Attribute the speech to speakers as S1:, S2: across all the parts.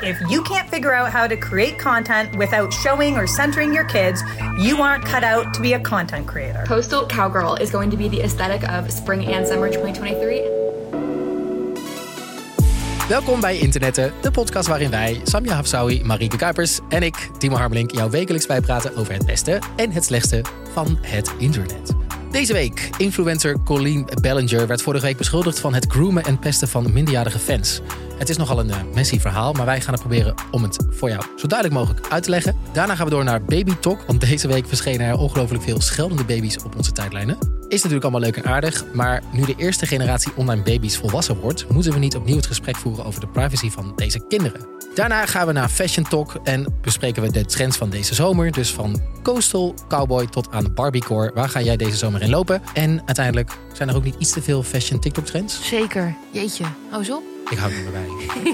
S1: If you can't figure out how to create content without showing or centering your kids, you aren't cut out to be a content creator.
S2: Coastal Cowgirl is going to be the aesthetic of spring and summer 2023.
S3: Welkom bij Internetten, de podcast waarin wij, Samja Hafsawi, Marieke Kuipers en ik, Timo Harmelink, jou wekelijks bijpraten over het beste en het slechtste van het internet. Deze week, influencer Colleen Bellinger werd vorige week beschuldigd van het groomen en pesten van minderjarige fans. Het is nogal een eh, messy verhaal, maar wij gaan het proberen om het voor jou zo duidelijk mogelijk uit te leggen. Daarna gaan we door naar Baby Talk, want deze week verschenen er ongelooflijk veel scheldende baby's op onze tijdlijnen. Is natuurlijk allemaal leuk en aardig, maar nu de eerste generatie online baby's volwassen wordt, moeten we niet opnieuw het gesprek voeren over de privacy van deze kinderen. Daarna gaan we naar Fashion Talk en bespreken we de trends van deze zomer. Dus van coastal, cowboy tot aan barbiecore. Waar ga jij deze zomer in lopen? En uiteindelijk zijn er ook niet iets te veel fashion TikTok trends?
S4: Zeker. Jeetje. Hou eens op.
S3: Ik hou er maar bij.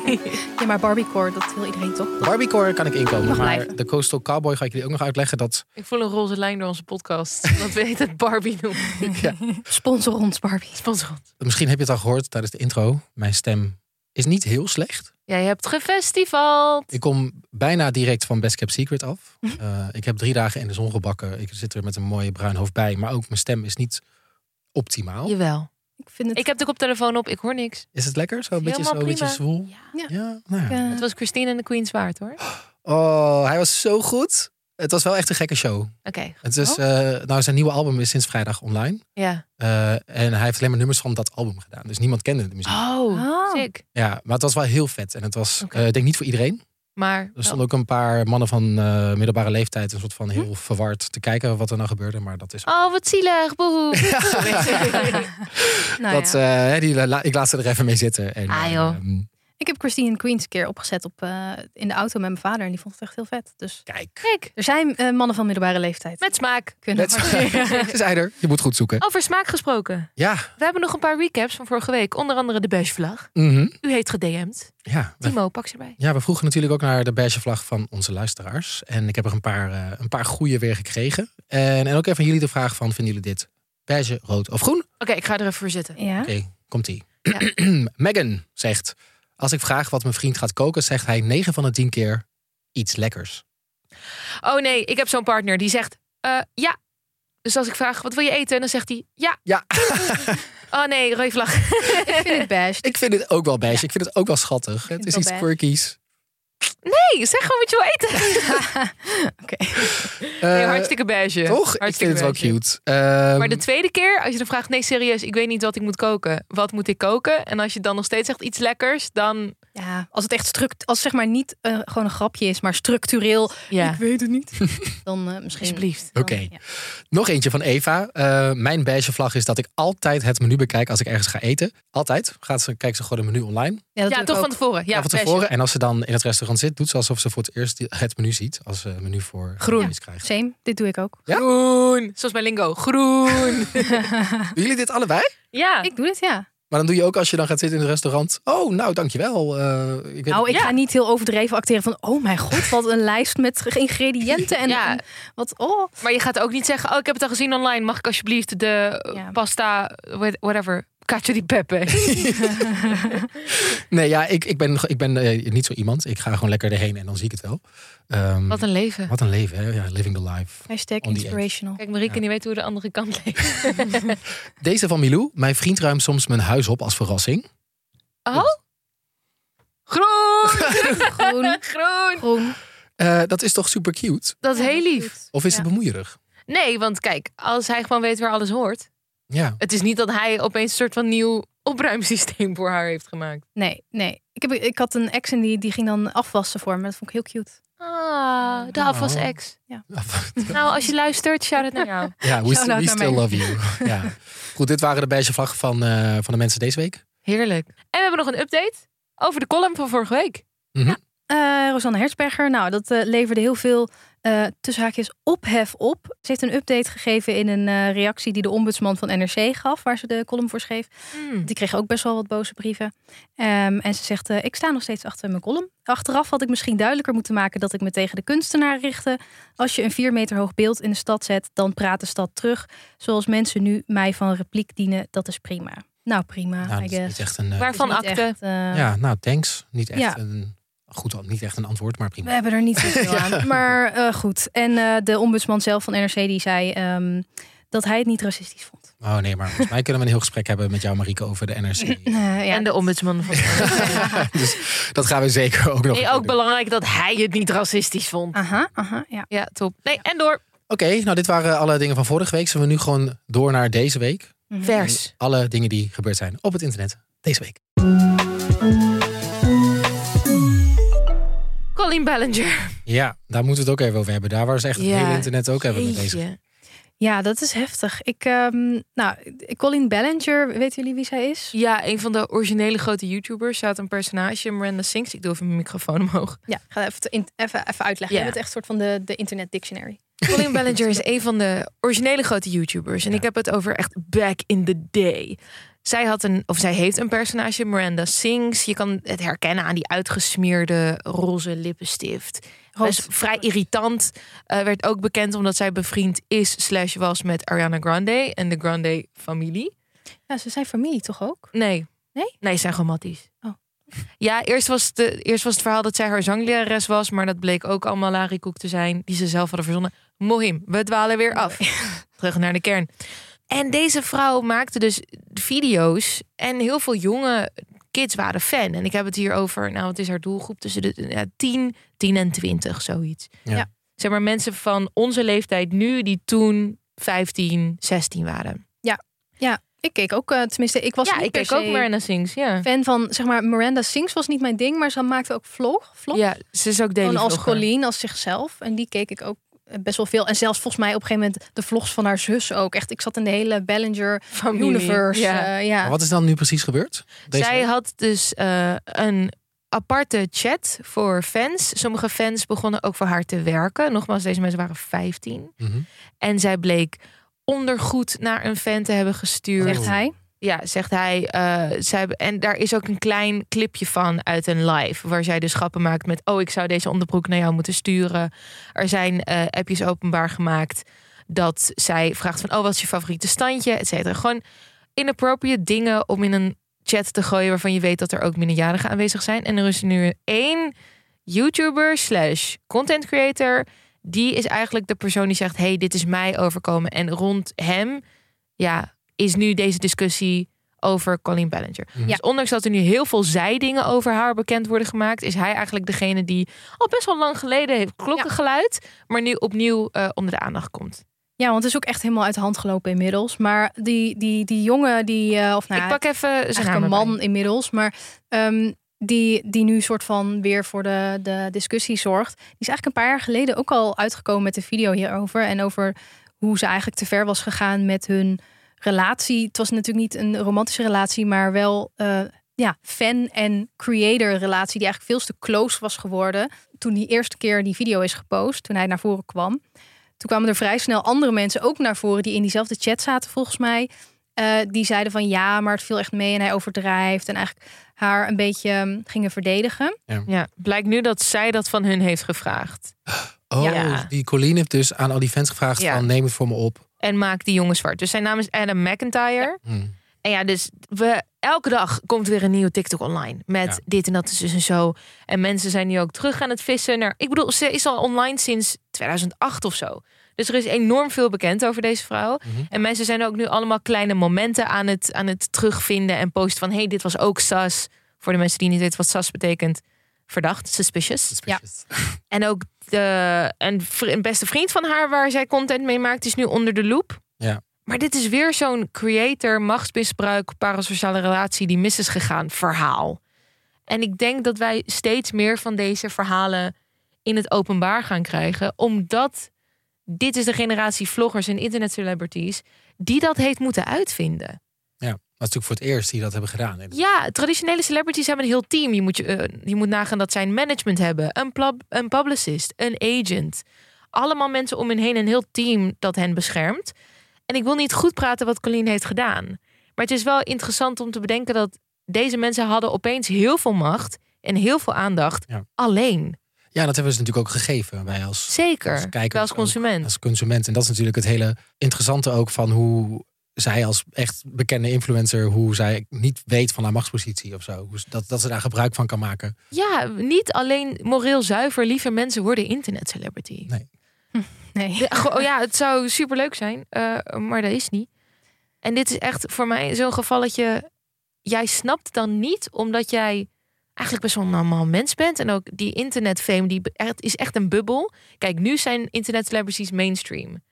S4: Ja, maar Barbiecore, dat wil iedereen toch?
S3: Barbiecore kan ik inkomen,
S4: Mag
S3: maar
S4: blijven.
S3: de coastal cowboy ga ik jullie ook nog uitleggen. Dat
S5: Ik voel een roze lijn door onze podcast. Want we heet het Barbie noemen.
S4: Sponsor ons, Barbie.
S5: Sponsor ons.
S3: Misschien heb je het al gehoord tijdens de intro. Mijn stem is niet heel slecht.
S5: Jij hebt gefestivald.
S3: Ik kom bijna direct van Best Kept Secret af.
S5: Mhm.
S3: Eh, ik heb drie dagen in de zon gebakken. Ik zit er met een mooie bruin hoofd bij. Maar ook mijn stem is niet optimaal.
S5: Jawel.
S4: Oh. Ik vind het...
S5: Ik heb de koptelefoon op, ik hoor niks.
S3: Is het lekker? Zo een beetje, zo, een
S5: Helemaal
S3: beetje
S5: prima.
S3: zwoel?
S4: Ja.
S3: nou ja.
S4: eh,
S5: Het was Christine en de Queen's waard hoor.
S4: Ah.
S5: Oké.
S3: Oh, hij was zo goed. Het was wel echt een gekke show. Het is,
S5: Oh.
S3: eh, nou, zijn nieuwe album is sinds vrijdag online.
S5: Ja.
S3: Eh, en hij heeft alleen maar nummers van dat album gedaan. Dus niemand kende de muziek.
S5: Oh,
S4: Oh.
S5: sick.
S3: Ja, maar het was wel heel vet. En het was,
S5: Oké.
S3: eh, ik denk niet voor iedereen.
S5: Maar
S3: Er
S5: wel-
S3: stonden ook een paar mannen van eh, middelbare leeftijd... een soort van
S5: Hm.
S3: heel verward te kijken wat er nou gebeurde. Maar dat is...
S5: Oh, wat zielig, boehoe.
S4: nou
S3: dat,
S4: ja.
S3: eh, die, la- la- ik laat ze er even mee zitten. En,
S5: Ah, joh.
S3: ehm,
S4: Ik heb Christine Queens een keer opgezet op, eh, in de auto met mijn vader. En die vond het echt heel vet. Dus
S3: kijk,
S5: Gek.
S4: er zijn eh, mannen van middelbare leeftijd.
S5: Met smaak.
S4: kunnen
S3: Met- ze zijn er. Je moet goed zoeken.
S5: Over smaak gesproken.
S3: Ja,
S5: We hebben nog een paar recaps van vorige week. Onder andere de beige
S3: mhm.
S5: U heeft gedM'd.
S3: ja. we
S5: Timo, pak ze erbij.
S3: Ja, we vroegen natuurlijk ook naar de beige vlag van onze luisteraars. En ik heb er een paar, eh, een paar goede weer gekregen. En, en ook even aan jullie de vraag van, vinden jullie dit beige, rood of groen?
S5: Oké, ik ga er even voor zitten.
S4: Ja.
S3: Oké, komt-ie. Megan zegt, als ik vraag wat mijn vriend gaat koken... zegt hij 9 van de 10 keer iets lekkers.
S5: Oh nee, ik heb zo'n partner die zegt eh, ja. Dus als ik vraag wat wil je eten, dan zegt hij ja.
S3: Ja,
S5: Oh nee, rode vlag.
S4: Ik vind het best.
S3: ik vind het ook wel beige. Ik vind het ook wel schattig. Het
S4: het
S3: is
S4: wel
S3: iets
S4: beige.
S3: quirkies.
S5: Nee, zeg gewoon wat je wil eten.
S4: Oké.
S5: Nee,
S3: Eh,
S5: hartstikke beige.
S3: toch? Ik
S5: Hartstikke
S3: vind het wel cute.
S5: beige.
S3: Ehm,
S5: Maar de tweede keer, als je dan vraagt, nee serieus, ik weet niet wat ik moet koken. Wat moet ik koken? En als je dan nog steeds zegt iets lekkers, dan...
S4: Ja, als het echt struct, als zeg maar niet eh, gewoon een grapje is, maar structureel,
S5: Ja,
S4: ik weet het niet, dan eh, misschien.
S5: alsjeblieft.
S4: dan-
S3: Oké.
S4: ja.
S3: Nog eentje van Eva. Eh, mijn beige vlag is dat ik altijd het menu bekijk als ik ergens ga eten. Altijd. Gaat ze, kijkt ze gewoon het menu online.
S4: Ja, dat
S5: Ja,
S4: doe ik
S5: toch
S4: ook.
S5: van tevoren. Ja,
S3: Ja, van
S5: beige.
S3: tevoren. En als ze dan in het restaurant zit, doet ze alsof ze voor het eerst die- het menu ziet. Als ze een menu voor
S5: Groen.
S3: groen krijgt.
S4: Same, dit doe ik ook.
S3: Ja?
S5: Groen. Zoals bij Lingo. Groen.
S3: Doen jullie dit allebei?
S5: ja.
S4: Ik doe dit, ja.
S3: Maar dan doe je ook als je dan gaat zitten in het restaurant. Oh, nou, dankjewel. Eh ik weet...
S4: Nou, ik
S5: Ja.
S4: ga niet heel overdreven acteren van, oh mijn god, wat een lijst met ingrediënten en,
S5: Ja.
S4: en wat, oh.
S5: Maar je gaat ook niet zeggen, oh, ik heb het al gezien online. Mag ik alsjeblieft de eh,
S4: Ja.
S5: pasta, what- whatever, cacio di pepe.
S3: Nee, ja, ik, ik ben, ik ben eh, niet zo iemand. Ik ga gewoon lekker erheen en dan zie ik het wel. Ehm,
S5: Wat een leven.
S3: wat een leven, hè? Ja, living the life. On
S4: Hashtag
S3: the edge.
S4: inspirational.
S5: Kijk, Marieke
S3: Ja.
S5: niet weet hoe de andere kant leeft.
S3: Deze van Milou. Mijn vriend ruimt soms mijn huis op als verrassing.
S5: Oh? Groen!
S4: Groen,
S5: Groen!
S4: groen.
S3: Eh, dat is toch super cute?
S5: Dat is heel lief.
S3: Of is
S4: Ja.
S3: het bemoeierig?
S5: Nee, want kijk, als hij gewoon weet waar alles hoort.
S3: Ja.
S5: Het is niet dat hij opeens een soort van nieuw opruimsysteem voor haar heeft gemaakt.
S4: Nee, nee. Ik, heb, ik had een ex en die, die ging dan afwassen voor me. Dat vond ik heel cute.
S5: Ah, de afwas ex. Nou, als je luistert, shout het naar jou.
S3: Ja, we,
S4: Shout-out
S3: we
S4: naar
S3: still
S4: mij.
S3: love you. Ja. Goed, dit waren de beige vlaggen van, eh, van de mensen deze week.
S5: Heerlijk. En we hebben nog een update over de column van vorige week.
S4: Eh, Rosanne Hersberger, nou, dat eh, leverde heel veel eh tussen haakjes ophef op. Ze heeft een update gegeven in een eh, reactie die de ombudsman van NRC gaf, waar ze de column voor schreef. Die kreeg ook best wel wat boze brieven. Ehm, en ze zegt, eh, ik sta nog steeds achter mijn column. Achteraf had ik misschien duidelijker moeten maken dat ik me tegen de kunstenaar richtte. Als je een vier meter hoog beeld in de stad zet, dan praat de stad terug. Zoals mensen nu mij van repliek dienen, dat is prima. Nou, prima,
S3: Nou,
S4: I
S3: dat is
S4: guess.
S3: niet echt een... eh,
S5: Waarvan
S4: Is niet
S5: acte?
S4: echt, eh,
S3: ja, nou, thanks. Niet echt
S4: Ja.
S3: een Goed, dan niet echt een antwoord, maar prima.
S4: We hebben er niet zoveel aan. Maar eh, goed. En eh, de ombudsman zelf van NRC die zei ehm, dat hij het niet racistisch vond.
S3: Oh nee, maar volgens mij kunnen we een heel gesprek hebben met jou, Marieke, over de NRC.
S4: Eh, ja.
S5: En de ombudsman van.
S3: Dus Dat gaan we zeker ook nog.
S5: Nee, ook belangrijk dat hij het niet racistisch vond.
S4: Aha, aha, ja.
S5: Ja, top. Nee, en door.
S3: Oké, nou dit waren alle dingen van vorige week. Zullen we nu gewoon door naar deze week?
S5: Mhm. Vers.
S3: Alle dingen die gebeurd zijn op het internet deze week.
S5: Colleen Ballinger.
S3: Ja, daar moeten we het ook even over hebben. Daar waar ze echt het
S5: Ja,
S3: hele internet ook hebben mee bezig.
S5: Jeetje.
S4: Ja, dat is heftig. Ik, ehm, nou, Colin Ballinger, weten jullie wie zij is?
S5: Ja, een van de originele grote YouTubers zat een personage, Miranda Sings. Ik doe even mijn microfoon omhoog.
S4: Ja, ga even, in- even, even uitleggen.
S5: Ja.
S4: Je bent echt een soort van de, de internet dictionary.
S5: Colleen Ballinger is een van de originele grote YouTubers. En ik heb het over echt back in the day. Zij had een, of zij heeft een personage, Miranda Sings. Je kan het herkennen aan die uitgesmeerde roze lippenstift. Best vrij irritant. Eh, werd ook bekend omdat zij bevriend is slash was met Ariana Grande en de Grande familie.
S4: Ja, ze zijn familie toch ook?
S5: Nee.
S4: Nee?
S5: Nee, ze zijn gewoon matties.
S4: Oh.
S5: Ja, eerst was, de, eerst was het verhaal dat zij haar zanglerares was, maar dat bleek ook allemaal larikoek te zijn, die ze zelf hadden verzonnen. Mohim, we dwalen weer af. Terug naar de kern. En deze vrouw maakte dus video's en heel veel jonge kids waren fan. En ik heb het hier over, nou, het is haar doelgroep tussen de ja, 10, 10 en 20, zoiets.
S3: Ja.
S4: Ja.
S5: Zeg maar mensen van onze leeftijd nu, die toen 15, 16 waren.
S4: Ik keek ook, eh, tenminste, ik was
S5: ja,
S4: niet
S5: ik
S4: per
S5: kijk ook
S4: se
S5: Miranda Sings, ja.
S4: fan van, zeg maar, Miranda Sings was niet mijn ding, maar ze maakte ook vlog, vlog.
S5: Ja, ze is ook
S4: Gewoon
S5: daily
S4: als
S5: vlogger.
S4: Colleen, als zichzelf. En die keek ik ook eh, best wel veel. En zelfs volgens mij op een gegeven moment de vlogs van haar zus ook. Echt, ik zat in de hele Ballinger
S5: Familie,
S4: universe.
S5: ja.
S4: eh,
S3: Maar
S4: ja.
S3: wat is dan nu precies gebeurd? Deze
S5: Zij
S3: week?
S5: had dus eh, een aparte chat voor fans. Sommige fans begonnen ook voor haar te werken. Nogmaals, deze mensen waren 15.
S3: Mhm.
S5: En zij bleek ondergoed naar een fan te hebben gestuurd.
S4: Zegt hij.
S5: Ja, zegt hij. eh, zij, en daar is ook een klein clipje van uit een live. Waar zij dus grappen maakt met... oh, ik zou deze onderbroek naar jou moeten sturen. Er zijn eh, appjes openbaar gemaakt... dat zij vraagt van... oh, wat is je favoriete standje, et cetera. Gewoon inappropriate dingen om in een chat te gooien... waarvan je weet dat er ook minderjarigen aanwezig zijn. En er is nu één YouTuber slash content creator... die is eigenlijk de persoon die zegt... hey, dit is mij overkomen. En rond hem... ja is nu deze discussie over Colleen Ballinger.
S3: Mhm.
S4: Ja.
S5: Dus ondanks dat er nu heel veel zijdingen over haar bekend worden gemaakt, is hij eigenlijk degene die al best wel lang geleden heeft klokken geluid, maar nu opnieuw eh, onder de aandacht komt.
S4: Ja, want het is ook echt helemaal uit de hand gelopen inmiddels. Maar die, die, die jongen, die, eh, of nou,
S5: Ik
S4: ja,
S5: pak even zijn naam
S4: eigenlijk een man
S5: erbij.
S4: inmiddels, maar ehm, die, die nu soort van weer voor de, de discussie zorgt. Die is eigenlijk een paar jaar geleden ook al uitgekomen met een video hierover. En over hoe ze eigenlijk te ver was gegaan met hun relatie. Het was natuurlijk niet een romantische relatie, maar wel eh, ja, fan- en creator-relatie. Die eigenlijk veel te close was geworden. Toen die eerste keer die video is gepost, toen hij naar voren kwam. Toen kwamen er vrij snel andere mensen ook naar voren die in diezelfde chat zaten, volgens mij. Eh, die zeiden van ja, maar het viel echt mee en hij overdrijft. En eigenlijk haar een beetje hm, gingen verdedigen.
S5: Ja, blijkt nu dat zij dat van hun heeft gevraagd.
S3: Oh,
S5: Ja.
S3: die Colleen heeft dus aan al die fans gevraagd
S5: Ja.
S3: van neem het voor me op.
S5: En maakt die jongen zwart. Dus zijn naam is Adam McIntyre.
S3: Hm.
S5: En ja, dus we, elke dag komt weer een nieuwe TikTok online. Met
S3: Ja.
S5: dit en dat is dus en zo. En mensen zijn nu ook terug aan het vissen. Naar, ik bedoel, ze is al online sinds 2008 of zo. Dus er is enorm veel bekend over deze vrouw.
S3: Mhm.
S5: En mensen zijn ook nu allemaal kleine momenten aan het, aan het terugvinden. En posten van, hey, dit was ook SAS. Voor de mensen die niet weten wat SAS betekent. Verdacht, suspicious.
S3: Suspicious.
S5: En ook de, een, vri- een beste vriend van haar waar zij content mee maakt, is nu onder de loep.
S3: Ja.
S5: Maar dit is weer zo'n creator, machtsmisbruik, parasociale relatie die mis is gegaan verhaal. En ik denk dat wij steeds meer van deze verhalen in het openbaar gaan krijgen. Omdat dit is de generatie vloggers en internetcelebrities die dat heeft moeten uitvinden.
S3: Dat is natuurlijk voor het eerst die dat hebben gedaan. hè.
S5: Ja, traditionele celebrities hebben een heel team. Je moet, je, eh, je moet nagaan dat zij een management hebben, een, plab- een publicist, een agent. Allemaal mensen om hen heen, een heel team dat hen beschermt. En ik wil niet goed praten wat Colleen heeft gedaan. Maar het is wel interessant om te bedenken dat deze mensen hadden opeens heel veel macht en heel veel aandacht
S3: Ja.
S5: alleen.
S3: Ja, dat hebben ze natuurlijk ook gegeven. Wij als
S5: Zeker.
S3: Als kijkers
S5: Wel als
S3: ook.
S5: consument.
S3: als consument. En dat is natuurlijk het hele interessante ook van hoe zij als echt bekende influencer, hoe zij niet weet van haar machtspositie of zo. Hoe ze- Dat, dat ze daar gebruik van kan maken.
S5: Ja, niet alleen moreel zuiver, lieve mensen worden internetcelebrity.
S3: Nee.
S4: Nee.
S5: Ja, go- oh ja, het zou superleuk zijn, eh, maar dat is niet. En dit is echt voor mij zo'n gevalletje. Jij snapt dan niet, omdat jij eigenlijk best wel een normaal mens bent. En ook die internetfame, die be- echt- is echt een bubbel. Kijk, nu zijn internetcelebrities mainstream.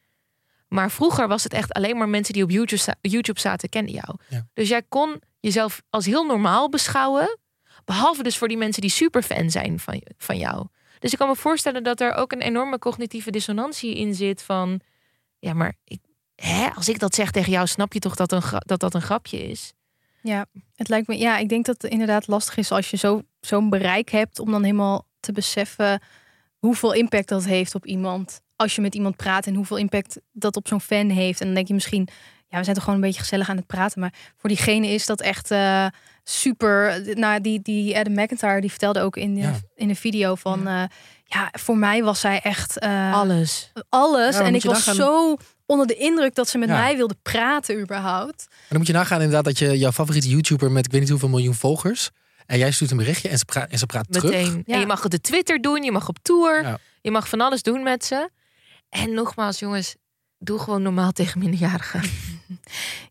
S5: Maar vroeger was het echt alleen maar mensen die op YouTube, za- YouTube zaten, kenden jou.
S3: Ja.
S5: Dus jij kon jezelf als heel normaal beschouwen. Behalve dus voor die mensen die superfan zijn van, van jou. Dus ik kan me voorstellen dat er ook een enorme cognitieve dissonantie in zit van... Ja, maar ik, hè, als ik dat zeg tegen jou, snap je toch dat een gra- dat, dat een grapje is?
S4: Ja, het lijkt me. Ja, ik denk dat het inderdaad lastig is als je zo, zo'n bereik hebt om dan helemaal te beseffen hoeveel impact dat heeft op iemand. Als je met iemand praat en hoeveel impact dat op zo'n fan heeft. En dan denk je misschien, ja, we zijn toch gewoon een beetje gezellig aan het praten. Maar voor diegene is dat echt eh, super. Nou, die, die Adam McIntyre die vertelde ook in de,
S3: Ja.
S4: in de video van, ja. ja, voor mij was zij echt eh,
S5: Alles.
S4: alles.
S3: Ja, dan
S4: en
S3: moet
S4: ik
S3: je
S4: was
S3: nagaan-
S4: zo onder de indruk dat ze met
S3: Ja.
S4: mij wilde praten überhaupt.
S3: En dan moet je nagaan inderdaad dat je jouw favoriete YouTuber met ik weet niet hoeveel miljoen volgers. En jij stuurt een berichtje en ze, pra- en ze praat terug.
S5: Meteen.
S4: Ja.
S5: En je mag het op Twitter doen, je mag op tour.
S3: Ja.
S5: Je mag van alles doen met ze. En nogmaals, jongens, doe gewoon normaal tegen minderjarigen.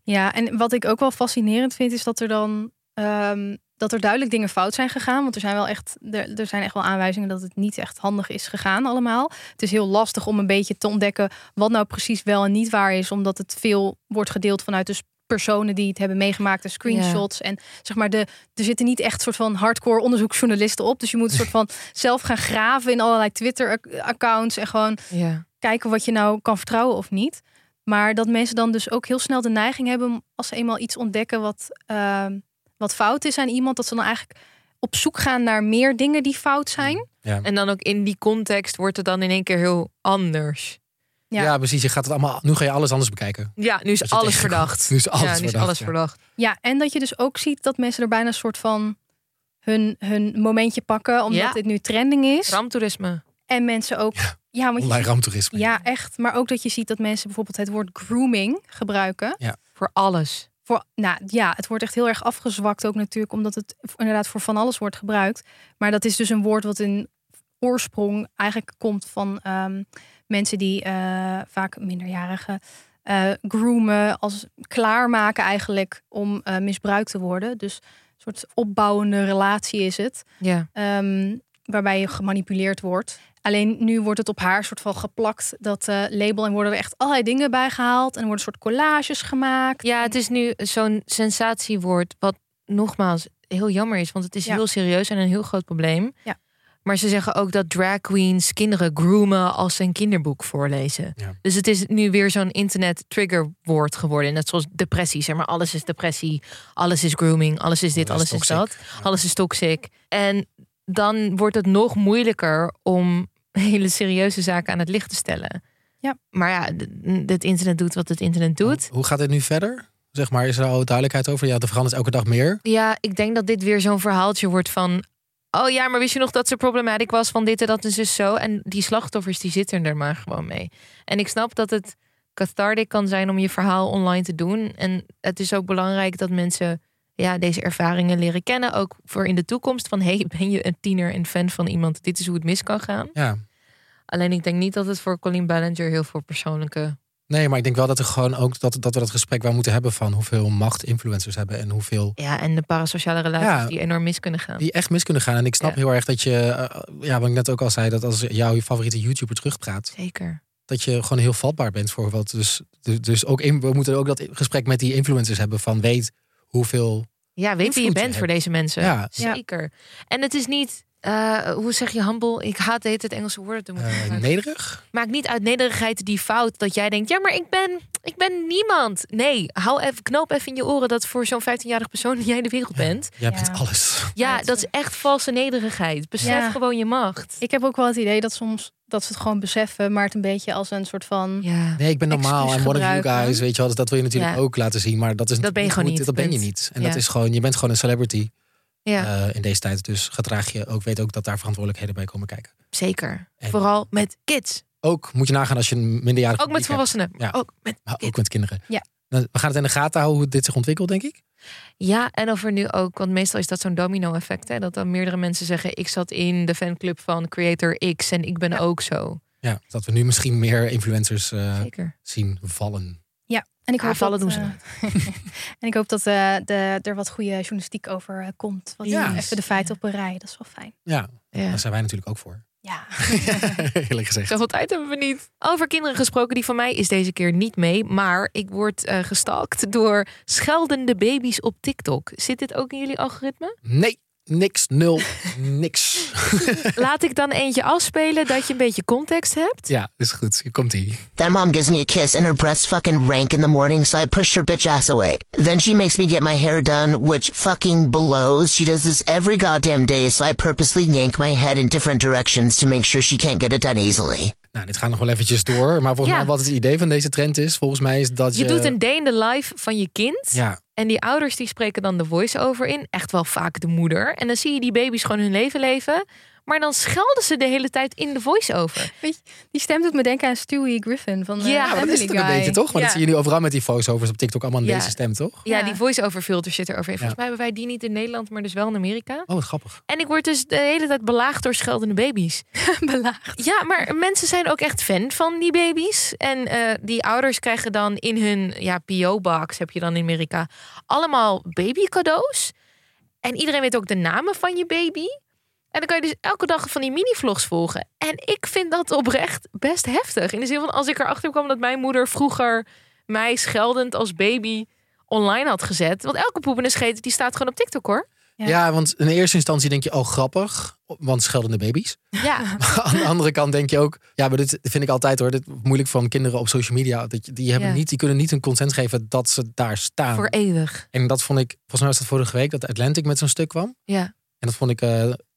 S4: Ja, en wat ik ook wel fascinerend vind, is dat er dan ehm, dat er duidelijk dingen fout zijn gegaan. Want er zijn wel echt, er, er zijn echt wel aanwijzingen dat het niet echt handig is gegaan allemaal. Het is heel lastig om een beetje te ontdekken wat nou precies wel en niet waar is. Omdat het veel wordt gedeeld vanuit dus personen die het hebben meegemaakt en screenshots. En zeg maar, de, er zitten niet echt soort van hardcore onderzoeksjournalisten op. Dus je moet een soort van zelf gaan graven in allerlei Twitter-accounts en gewoon
S5: Ja.
S4: kijken wat je nou kan vertrouwen of niet. Maar dat mensen dan dus ook heel snel de neiging hebben om als ze eenmaal iets ontdekken wat, ehm, wat fout is aan iemand, dat ze dan eigenlijk op zoek gaan naar meer dingen die fout zijn.
S5: En dan ook in die context wordt het dan in één keer heel anders.
S3: Ja.
S4: Ja.
S3: precies. Je gaat het allemaal, nu ga je alles anders bekijken.
S5: Ja, nu is
S3: Dat je
S5: alles
S3: tegenkomt.
S5: verdacht.
S3: Nu is alles
S5: ja, nu is
S3: verdacht,
S5: alles
S3: ja.
S5: verdacht.
S4: Ja, en dat je dus ook ziet dat mensen er bijna een soort van hun, hun momentje pakken, omdat
S5: Ja.
S4: dit nu trending is.
S5: Ramtoerisme.
S4: En mensen ook. Ja, want je
S3: Online
S4: ziet-
S3: raamtoerisme.
S4: ja, echt. Maar ook dat je ziet dat mensen bijvoorbeeld het woord grooming gebruiken.
S5: Voor alles.
S4: voor, nou ja, het wordt echt heel erg afgezwakt ook natuurlijk, omdat het inderdaad voor van alles wordt gebruikt. Maar dat is dus een woord wat in oorsprong eigenlijk komt van ehm, mensen die eh, vaak minderjarigen eh, groomen, als klaarmaken eigenlijk om eh, misbruikt te worden. Dus een soort opbouwende relatie is het.
S5: Ja.
S4: Ehm, waarbij je gemanipuleerd wordt. Alleen nu wordt het op haar soort van geplakt, dat eh, label. En worden er echt allerlei dingen bij gehaald. En er worden soort collages gemaakt.
S5: Ja, het is nu zo'n sensatiewoord. Wat nogmaals heel jammer is. Want het is
S4: Ja.
S5: heel serieus en een heel groot probleem.
S4: Ja.
S5: Maar ze zeggen ook dat drag queens kinderen groomen als ze een kinderboek voorlezen.
S3: Ja.
S5: Dus het is nu weer zo'n internet triggerwoord geworden. Net zoals depressie. Zeg maar alles is depressie. Alles is grooming. Alles is dit.
S3: Alles
S5: Alles,
S3: is
S5: is dat.
S3: toxic.
S5: Alles is toxic. En dan wordt het nog moeilijker om hele serieuze zaken aan het licht te stellen.
S4: Ja.
S5: Maar ja, d- het internet doet wat het internet doet.
S3: Hoe gaat dit nu verder? Zeg maar, is er al duidelijkheid over? Ja, er verandert elke dag meer.
S5: Ja, ik denk dat dit weer zo'n verhaaltje wordt van. Oh ja, maar wist je nog dat ze problematisch was van dit en dat en dus zo? En die slachtoffers die zitten er maar gewoon mee. En ik snap dat het cathartic kan zijn om je verhaal online te doen. En het is ook belangrijk dat mensen ja, deze ervaringen leren kennen. Ook voor in de toekomst van hey, ben je een tiener en fan van iemand? Dit is hoe het mis kan gaan.
S3: Ja.
S5: Alleen ik denk niet dat het voor Colleen Ballinger heel veel persoonlijke.
S3: Nee, maar ik denk wel dat, er gewoon ook, dat, dat we dat gesprek wel moeten hebben van hoeveel macht influencers hebben en hoeveel
S5: Ja, en de parasociale relaties
S3: Ja.
S5: die enorm mis kunnen gaan.
S3: die echt mis kunnen gaan. En ik snap
S5: Ja.
S3: heel erg dat je, eh, ja, wat ik net ook al zei, dat als jouw favoriete YouTuber terugpraat,
S5: Zeker.
S3: dat je gewoon heel vatbaar bent voor wat. Dus, dus- dus ook in, we moeten ook dat gesprek met die influencers hebben van weet hoeveel.
S5: Ja, weet wie je
S3: invloed je
S5: bent voor
S3: hebt.
S5: deze mensen.
S3: Ja.
S5: Zeker. En het is niet, eh, hoe zeg je humble? Ik haat de hele tijd Engelse woorden. te moeten
S3: eh,
S5: gebruiken.
S3: nederig?
S5: Maak niet uit nederigheid die fout dat jij denkt, ja, maar ik ben, ik ben niemand. Nee, hou even, knoop even in je oren dat voor zo'n 15-jarig persoon jij de wereld bent.
S3: Jij
S4: Ja.
S3: bent alles.
S5: Ja,
S4: Ja,
S5: dat is echt valse nederigheid. Besef
S4: Ja.
S5: gewoon je macht.
S4: Ik heb ook wel het idee dat soms dat ze het gewoon beseffen, maar het een beetje als een soort van.
S5: Ja.
S3: Nee, ik ben normaal.
S4: Excuus
S3: En one of you
S4: gebruiken.
S3: guys, weet je wel. Dus dat wil je natuurlijk
S5: Ja.
S3: ook laten zien. Maar dat is
S5: Dat ben je
S3: niet
S5: gewoon
S3: hoe het-
S5: niet,
S3: Dat ben je
S5: punt.
S3: niet. En
S5: Ja.
S3: dat is gewoon, je bent gewoon een celebrity
S5: ja.
S3: eh, in deze tijd. Dus gedraag je ook, weet ook dat daar verantwoordelijkheden bij komen kijken.
S5: Zeker.
S3: En-
S5: Vooral met kids.
S3: Ook moet je nagaan als je een minderjarig
S5: Ook met
S3: publiek hebt.
S5: volwassenen.
S3: Ja.
S5: Ook met
S3: Maar ook
S5: kids.
S3: met kinderen.
S4: Ja.
S3: We gaan het in de gaten houden hoe dit zich ontwikkelt, denk ik.
S5: Ja, en of er nu ook, want meestal is dat zo'n domino-effect, hè, dat dan meerdere mensen zeggen: ik zat in de fanclub van Creator X en ik ben ook zo.
S3: Ja, dat we nu misschien meer influencers eh,
S5: Zeker.
S3: zien vallen.
S4: Ja, en ik
S5: Ja,
S4: hoop
S5: vallen
S4: dat,
S5: doen ze
S4: eh, en ik hoop dat eh, de, er wat goede journalistiek over eh, komt. Wat
S3: Ja.
S4: even de feiten op een rij, dat is wel fijn.
S3: Ja,
S5: Ja.
S3: daar zijn wij natuurlijk ook voor.
S4: Ja,
S3: Eerlijk gezegd.
S5: Zoveel tijd hebben we niet. Over kinderen gesproken, die van mij is deze keer niet mee. Maar ik word eh, gestalkt door scheldende baby's op TikTok. Zit dit ook in jullie algoritme?
S3: Nee, niks, nul, niks.
S5: Laat ik dan eentje afspelen dat je een beetje context hebt.
S3: ja, is goed. Hier komt ie.
S6: That mom gives me a kiss and her breasts fucking rank in the morning, so I push her bitch ass away. Then she makes me get my hair done, which fucking blows. She does this every goddamn day, so I purposely yank my head in different directions to make sure she can't get it done easily.
S3: Nou, dit gaat nog wel eventjes door. Maar volgens
S5: Ja.
S3: mij wat het idee van deze trend is, volgens mij is dat je... Nou,
S5: Je doet een day in the life van je kind.
S3: Ja,
S5: En die ouders die spreken dan de voice-over in. Echt wel vaak de moeder. En dan zie je die baby's gewoon hun leven leven. Maar dan schelden ze de hele tijd in de voice-over.
S4: weet je, die stem doet me denken aan Stewie Griffin van eh,
S5: Ja, maar
S3: ja maar dat is
S4: Family
S3: het ook een
S4: Guy.
S3: beetje, toch? Want dat
S4: Ja.
S3: zie je nu overal met die voiceovers op TikTok allemaal in
S5: Ja.
S3: deze stem, toch?
S5: Ja,
S4: Ja.
S5: die voice-over filter zit er overheen.
S3: Ja.
S5: Volgens mij hebben wij die niet in Nederland, maar dus wel in Amerika.
S3: Oh, wat grappig.
S5: En ik word dus de hele tijd belaagd door scheldende baby's.
S4: Belaagd.
S5: Ja, maar mensen zijn ook echt fan van die baby's. En eh, die ouders krijgen dan in hun ja, PO-box, heb je dan in Amerika, allemaal babycadeaus. En iedereen weet ook de namen van je baby. En dan kan je dus elke dag van die mini-vlogs volgen. En ik vind dat oprecht best heftig. In de zin van als ik erachter kwam dat mijn moeder vroeger mij scheldend als baby online had gezet. Want elke poep en een scheet, die staat gewoon op TikTok hoor.
S3: Ja.
S4: Ja.
S3: want in eerste instantie denk je, oh grappig, want scheldende baby's.
S5: Ja,
S3: Maar aan de andere kant denk je ook, ja, maar dit vind ik altijd hoor, dit moeilijk van kinderen op social media. Dat je- die, hebben
S5: Ja.
S3: niet, die kunnen niet een consent geven dat ze daar staan.
S5: voor eeuwig.
S3: En dat vond ik, volgens mij was dat vorige week, dat Atlantic met zo'n stuk kwam.
S5: Ja.
S3: En dat vond ik eh,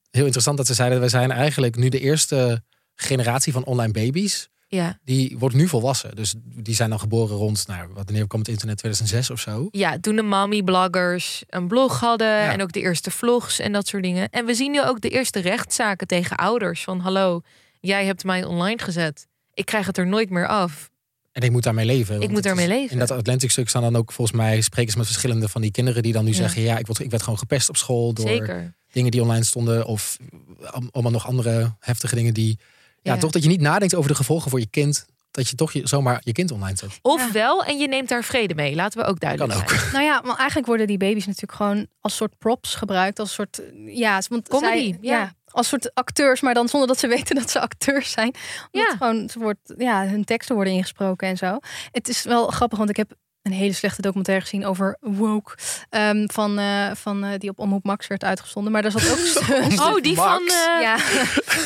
S3: heel interessant dat ze zeiden, wij zijn eigenlijk nu de eerste generatie van online baby's.
S5: Ja.
S3: Die wordt nu volwassen. Dus die zijn dan geboren rond, nou, wat- wanneer kwam het internet? 2006 of zo.
S5: ja, toen de mommy-bloggers een blog hadden
S3: Ja.
S5: en ook de eerste vlogs en dat soort dingen. En we zien nu ook de eerste rechtszaken tegen ouders van hallo, jij hebt mij online gezet. Ik krijg het er nooit meer af.
S3: En ik moet daarmee leven. want
S5: moet
S3: het
S5: daarmee
S3: is-
S5: leven.
S3: In dat Atlantic stuk staan dan ook volgens mij sprekers met verschillende van die kinderen die dan nu
S5: Ja.
S3: zeggen, ja, ik, word, ik werd gewoon gepest op school door
S5: Zeker.
S3: dingen die online stonden of al- allemaal nog andere heftige dingen die, ja,
S5: Ja.
S3: toch dat je niet nadenkt over de gevolgen voor je kind, dat je toch je, zomaar je kind online zet.
S5: Ofwel, en je neemt daar vrede mee. Laten we ook duidelijk
S3: Kan ook.
S5: zijn.
S4: Nou ja, want eigenlijk worden die baby's natuurlijk gewoon als soort props gebruikt. Als soort, eh, ja, want
S5: Comedy,
S4: zij-
S5: ja.
S4: Als soort acteurs, maar dan zonder dat ze weten dat ze acteurs zijn. Omdat
S5: Ja.
S4: gewoon, ze wordt, ja, hun teksten worden ingesproken en zo. Het is wel grappig, want ik heb een hele slechte documentaire gezien over woke. ehm, van, eh, van eh, die op Omroep Max werd uitgezonden. Maar daar zat ook... zo'n-
S5: Oh, die
S3: Max.
S5: van eh,
S4: ja.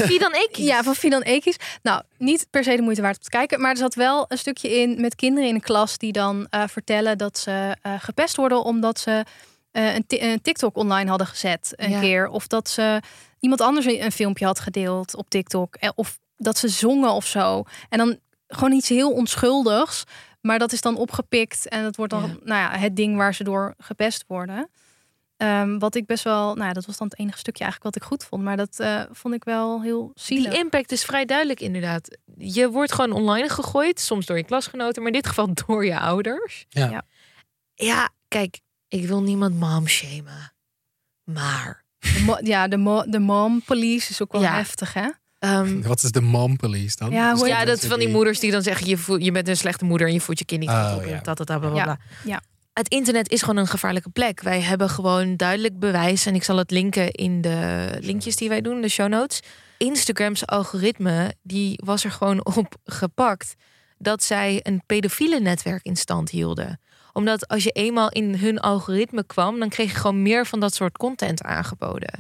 S5: wie dan ik?
S4: Ja, van Fidan Ekis. Nou, niet per se de moeite waard om te kijken. Maar er zat wel een stukje in met kinderen in de klas die dan eh, vertellen dat ze eh, gepest worden omdat ze eh, een, ti- een TikTok online hadden gezet een
S5: Ja.
S4: keer. Of dat ze iemand anders een een filmpje had gedeeld op TikTok. Eh, Of dat ze zongen of zo. En dan gewoon iets heel onschuldigs. Maar dat is dan opgepikt en dat wordt dan
S5: Ja.
S4: Nou ja, het ding waar ze door gepest worden. Ehm, wat ik best wel, nou ja, dat was dan het enige stukje eigenlijk wat ik goed vond. Maar dat eh, vond ik wel heel zielig.
S5: Die impact is vrij duidelijk inderdaad. Je wordt gewoon online gegooid, soms door je klasgenoten, maar in dit geval door je ouders.
S3: Ja.
S4: Ja.
S5: Ja, kijk, ik wil niemand mom shamen. Maar
S4: De mo- ja, de, mo- de mom police is ook wel
S5: Ja.
S4: heftig, hè?
S5: ehm,
S3: Wat is de mom police dan?
S4: Ja,
S3: Dus
S4: hoor-
S5: Ja, dat
S3: mensen
S5: van die
S3: die-
S5: moeders die dan zeggen: je, voe- je bent een slechte moeder en je voedt je kind niet
S3: Oh,
S5: goed op.
S3: ja.
S5: en dat, dat, dat, bla, bla,
S4: Ja.
S5: bla.
S4: Ja.
S5: Het internet is gewoon een gevaarlijke plek. Wij hebben gewoon duidelijk bewijs. En ik zal het linken in de linkjes die wij doen, de show notes. Instagram's algoritme, die was er gewoon op gepakt dat zij een pedofiele netwerk in stand hielden. Omdat als je eenmaal in hun algoritme kwam, dan kreeg je gewoon meer van dat soort content aangeboden.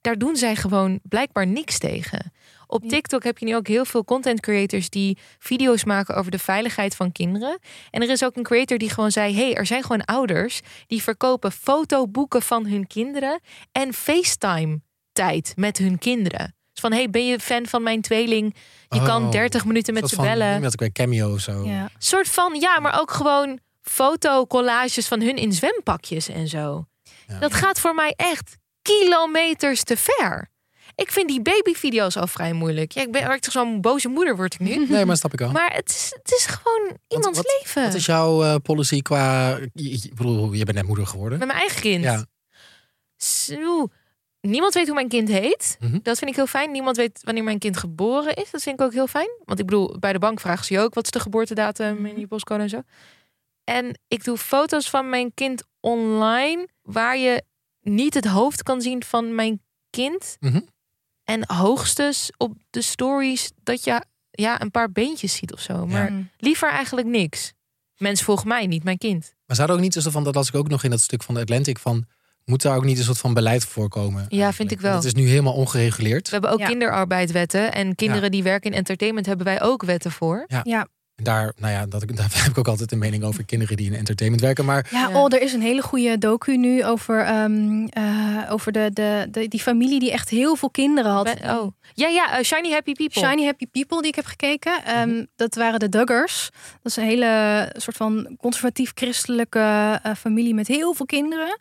S5: Daar doen zij gewoon blijkbaar niks tegen. Op TikTok heb je nu ook heel veel content creators die video's maken over de veiligheid van kinderen. En er is ook een creator die gewoon zei: hey, er zijn gewoon ouders die verkopen fotoboeken van hun kinderen en FaceTime-tijd met hun kinderen. Dus van: hey, ben je fan van mijn tweeling? Je kan
S3: Oh,
S5: 30 minuten met
S3: soort
S5: ze
S3: van-
S5: bellen.
S3: Dat ik bij Cameo of zo.
S4: Ja.
S5: Soort van, ja, maar ook gewoon fotocollages van hun in zwempakjes en zo.
S3: Ja.
S5: Dat gaat voor mij echt kilometers te ver. Ik vind die babyvideo's al vrij moeilijk. Ja, ik ben waar ik toch zo'n boze moeder word ik nu.
S3: Nee, maar snap ik wel.
S5: Maar het is, het is gewoon iemands
S3: wat-
S5: leven.
S3: Wat is jouw eh, policy qua... je- je- Ik bedoel, je bent net moeder geworden.
S5: Met mijn eigen kind.
S3: Ja.
S5: Zo. Niemand weet hoe mijn kind heet.
S3: Mhm.
S5: Dat vind ik heel fijn. Niemand weet wanneer mijn kind geboren is. Dat vind ik ook heel fijn. Want ik bedoel, bij de bank vragen ze je ook wat is de geboortedatum
S3: Mhm.
S5: en je postcode en zo. En ik doe foto's van mijn kind online waar je niet het hoofd kan zien van mijn kind.
S3: Mhm.
S5: En hoogstens op de stories dat je ja, een paar beentjes ziet of zo. Maar liever eigenlijk niks. Mensen volgen mij, niet mijn kind.
S3: Maar zou er ook niet een soort van... Dat las ik ook nog in dat stuk van de Atlantic van... Moet daar ook niet een soort van beleid voorkomen? eigenlijk?
S5: vind ik
S3: Want
S5: wel.
S3: Het is nu helemaal ongereguleerd.
S5: We hebben ook
S4: Ja.
S5: kinderarbeidwetten. En kinderen die werken in entertainment hebben wij ook wetten voor.
S3: En daar, nou ja, dat, ik- daar heb ik ook altijd een mening over kinderen die in entertainment werken. Maar
S4: Ja,
S5: Ja.
S4: oh, er is een hele goede docu nu over, ehm, eh, over de, de, de, die familie die echt heel veel kinderen had. Ehm,
S5: Ben- oh. Ja, ja, eh, Shiny Happy People.
S4: Shiny Happy People die ik heb gekeken. Ehm,
S5: Mhm.
S4: Dat waren de Duggars. Dat is een hele soort van conservatief-christelijke eh, familie met heel veel kinderen.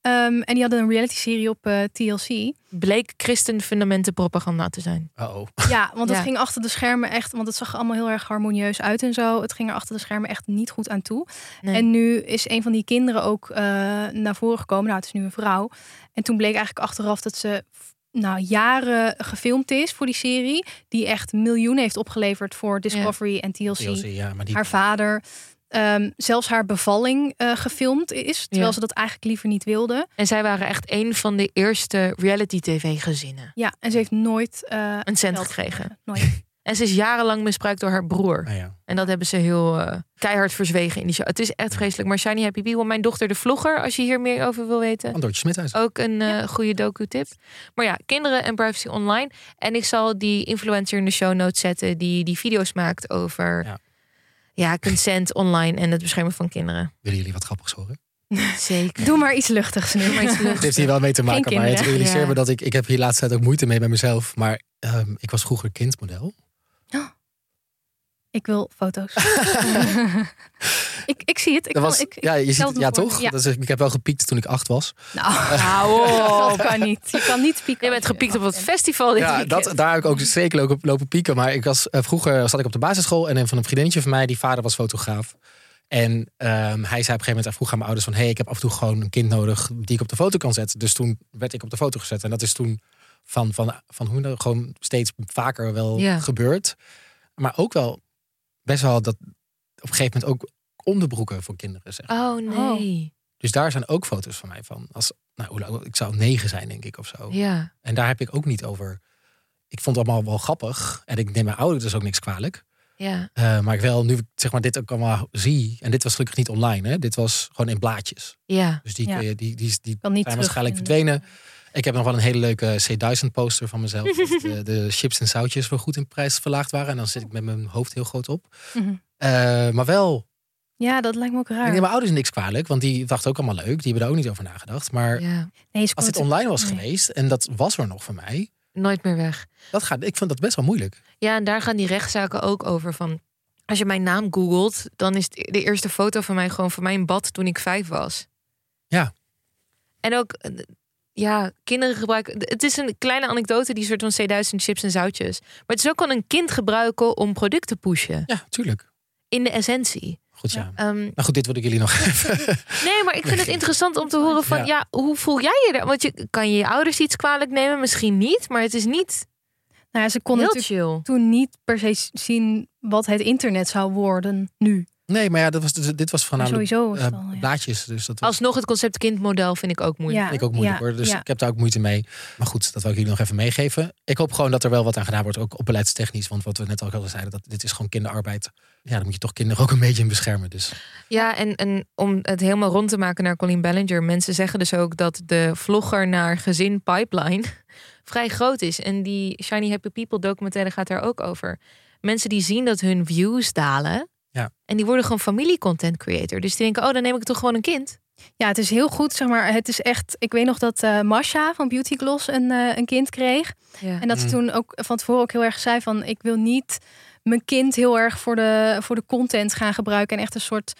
S4: Ehm, en die hadden een reality-serie op eh, TLC.
S5: Bleek christenfundamenten propaganda te zijn.
S3: oh,
S4: Ja, want
S5: Ja.
S4: het ging achter de schermen echt... want het zag er allemaal heel erg harmonieus uit en zo. Het ging er achter de schermen echt niet goed aan toe.
S5: Nee.
S4: En nu is een van die kinderen ook eh, naar voren gekomen. Nou, het is nu een vrouw. En toen bleek eigenlijk achteraf dat ze f- nou, jaren gefilmd is voor die serie... die echt miljoenen heeft opgeleverd voor Discovery en TLC.
S3: TLC, ja, maar die
S4: Haar vader... ehm, zelfs haar bevalling eh, gefilmd is. Terwijl
S5: Ja.
S4: ze dat eigenlijk liever niet wilde.
S5: En zij waren echt een van de eerste reality-tv-gezinnen.
S4: Ja, en ze heeft nooit... eh,
S5: Een cent
S4: geld
S5: gekregen.
S4: Nooit.
S5: En ze is jarenlang misbruikt door haar broer.
S3: Nou ja.
S5: En dat hebben ze heel eh, keihard verzwegen in die show. Het is echt vreselijk. Maar Shiny Happy People, mijn dochter de vlogger, als je hier meer over wil weten.
S3: Van Doortje Smithuis.
S5: Ook een eh, goede docu-tip. Maar ja, kinderen en privacy online. En ik zal die influencer in de show notes zetten die die video's maakt over ja.
S3: Ja.
S5: consent online en het beschermen van kinderen.
S3: Willen jullie wat grappigs horen?
S5: Zeker.
S4: Doe maar iets luchtigs nu.
S5: Maar iets
S3: Het
S5: luchtigs.
S3: heeft hier wel mee te maken, maar het
S4: kinderen.
S3: realiseer me
S5: Ja.
S3: dat ik... Ik heb hier laatst tijd ook moeite mee bij mezelf. Maar ehm, ik was vroeger kindmodel.
S4: Ik wil foto's. ik, ik zie het. Ik
S3: Dat
S4: kan-
S3: was,
S4: ik, ik
S3: ja, je ziet
S4: stel
S3: het,
S4: me
S3: ja
S4: voor.
S3: toch?
S4: Ja.
S3: Dat is, ik heb wel gepiekt toen ik acht was.
S4: Nou,
S5: Hou
S4: dat
S5: op.
S4: kan niet. Je kan niet pieken.
S5: Je bent gepiekt op het festival dit
S3: Ja, dat,
S5: weekend.
S3: daar heb ik ook zeker ook op lopen pieken. Maar ik was, eh, vroeger zat ik op de basisschool en een van een vriendinnetje van mij, die vader was fotograaf. En ehm, hij zei op een gegeven moment, hij vroeg aan mijn ouders van... hé, hey, ik heb af en toe gewoon een kind nodig die ik op de foto kan zetten. Dus toen werd ik op de foto gezet. En dat is toen van, van, van hoe nou gewoon steeds vaker wel
S5: Ja.
S3: gebeurd. Maar ook wel best wel dat op een gegeven moment ook onderbroeken voor kinderen. Zeg.
S5: Oh nee.
S3: Dus daar zijn ook foto's van mij van. Als, nou, hoe oud- ik zou negen zijn, denk ik, of zo.
S5: Ja.
S3: En daar heb ik ook niet over. Ik vond het allemaal wel grappig. En ik neem mijn ouders dus ook niks kwalijk.
S5: Ja.
S3: Eh, maar ik wel, nu ik zeg maar dit ook allemaal zie. En dit was gelukkig niet online. Hè? Dit was gewoon in blaadjes.
S5: Ja.
S3: Dus die,
S4: Ja.
S3: kun je- die, die, die
S4: kan niet eh,
S3: zijn waarschijnlijk
S4: terugvinden.
S3: verdwenen. Ik heb nog wel een hele leuke C1000 poster van mezelf. dat de, de chips en zoutjes wel goed in prijs verlaagd waren. En dan zit ik met mijn hoofd heel groot op.
S4: Mhm. Ah.
S3: Eh, maar wel,
S4: Ja, dat lijkt me ook
S3: ik
S4: raar.
S3: neem mijn ouders niks kwalijk. Want die dachten ook allemaal leuk. Die hebben er ook niet over nagedacht. Maar
S5: ja.
S4: Nee, ze
S3: als
S4: kon
S3: dit online was
S4: Oh, Nee.
S3: geweest. En dat was er nog voor mij.
S5: Nooit meer weg.
S3: Dat gaat, ik vond dat best wel moeilijk.
S5: Ja, en daar gaan die rechtszaken ook over. Van, als je mijn naam googelt, dan is de eerste foto van mij gewoon van mijn bad toen ik vijf was.
S3: Ja.
S5: En ook, eh, ja, kinderen gebruiken. Het is een kleine anekdote, die soort van C1000 chips en zoutjes. Maar het is ook kan een kind gebruiken om producten te pushen.
S3: Ja, tuurlijk.
S5: In de essentie.
S3: Goed, ja.
S5: Ehm,
S3: Nou goed, dit wil ik jullie nog even.
S5: nee, maar ik vind het interessant om te horen van,
S3: Ja.
S5: ja, hoe voel jij je daar? Want je, kan je je ouders iets kwalijk nemen? Misschien niet, maar het is niet
S4: Nou ja, ze kon
S5: heel
S4: natuurlijk
S5: chill.
S4: toen niet per se s- zien wat het internet zou worden nu.
S3: Nee, maar ja, dat was, dus, dit was
S4: Maar
S3: voornamelijk
S4: sowieso is het
S3: eh,
S4: al, ja.
S3: blaadjes. Dus dat was,
S5: Alsnog het concept kindmodel vind ik ook moeilijk.
S4: Ja,
S3: vind ik ook moeilijk
S4: ja,
S3: hoor. Dus
S4: ja.
S3: ik heb daar ook moeite mee. Maar goed, dat wil ik jullie nog even meegeven. Ik hoop gewoon dat er wel wat aan gedaan wordt, ook op beleidstechnisch. Want wat we net ook al zeiden, dat dit is gewoon kinderarbeid. Ja, dan moet je toch kinderen ook een beetje in beschermen. Dus
S5: Ja, en, en om het helemaal rond te maken naar Colleen Ballinger. Mensen zeggen dus ook dat de vlogger naar gezin pipeline vrij groot is. En die Shiny Happy People documentaire gaat daar ook over. Mensen die zien dat hun views dalen.
S3: Ja.
S5: En die worden gewoon familie-content creator. Dus die denken, oh, dan neem ik toch gewoon een kind.
S4: Ja, het is heel goed, zeg maar. Het is echt... Ik weet nog dat eh, Masha van Beauty Gloss een, eh, een kind kreeg.
S5: Ja.
S4: En dat ze
S3: Mm.
S4: toen ook van tevoren ook heel erg zei van... ik wil niet mijn kind heel erg voor de, voor de content gaan gebruiken. En echt een soort...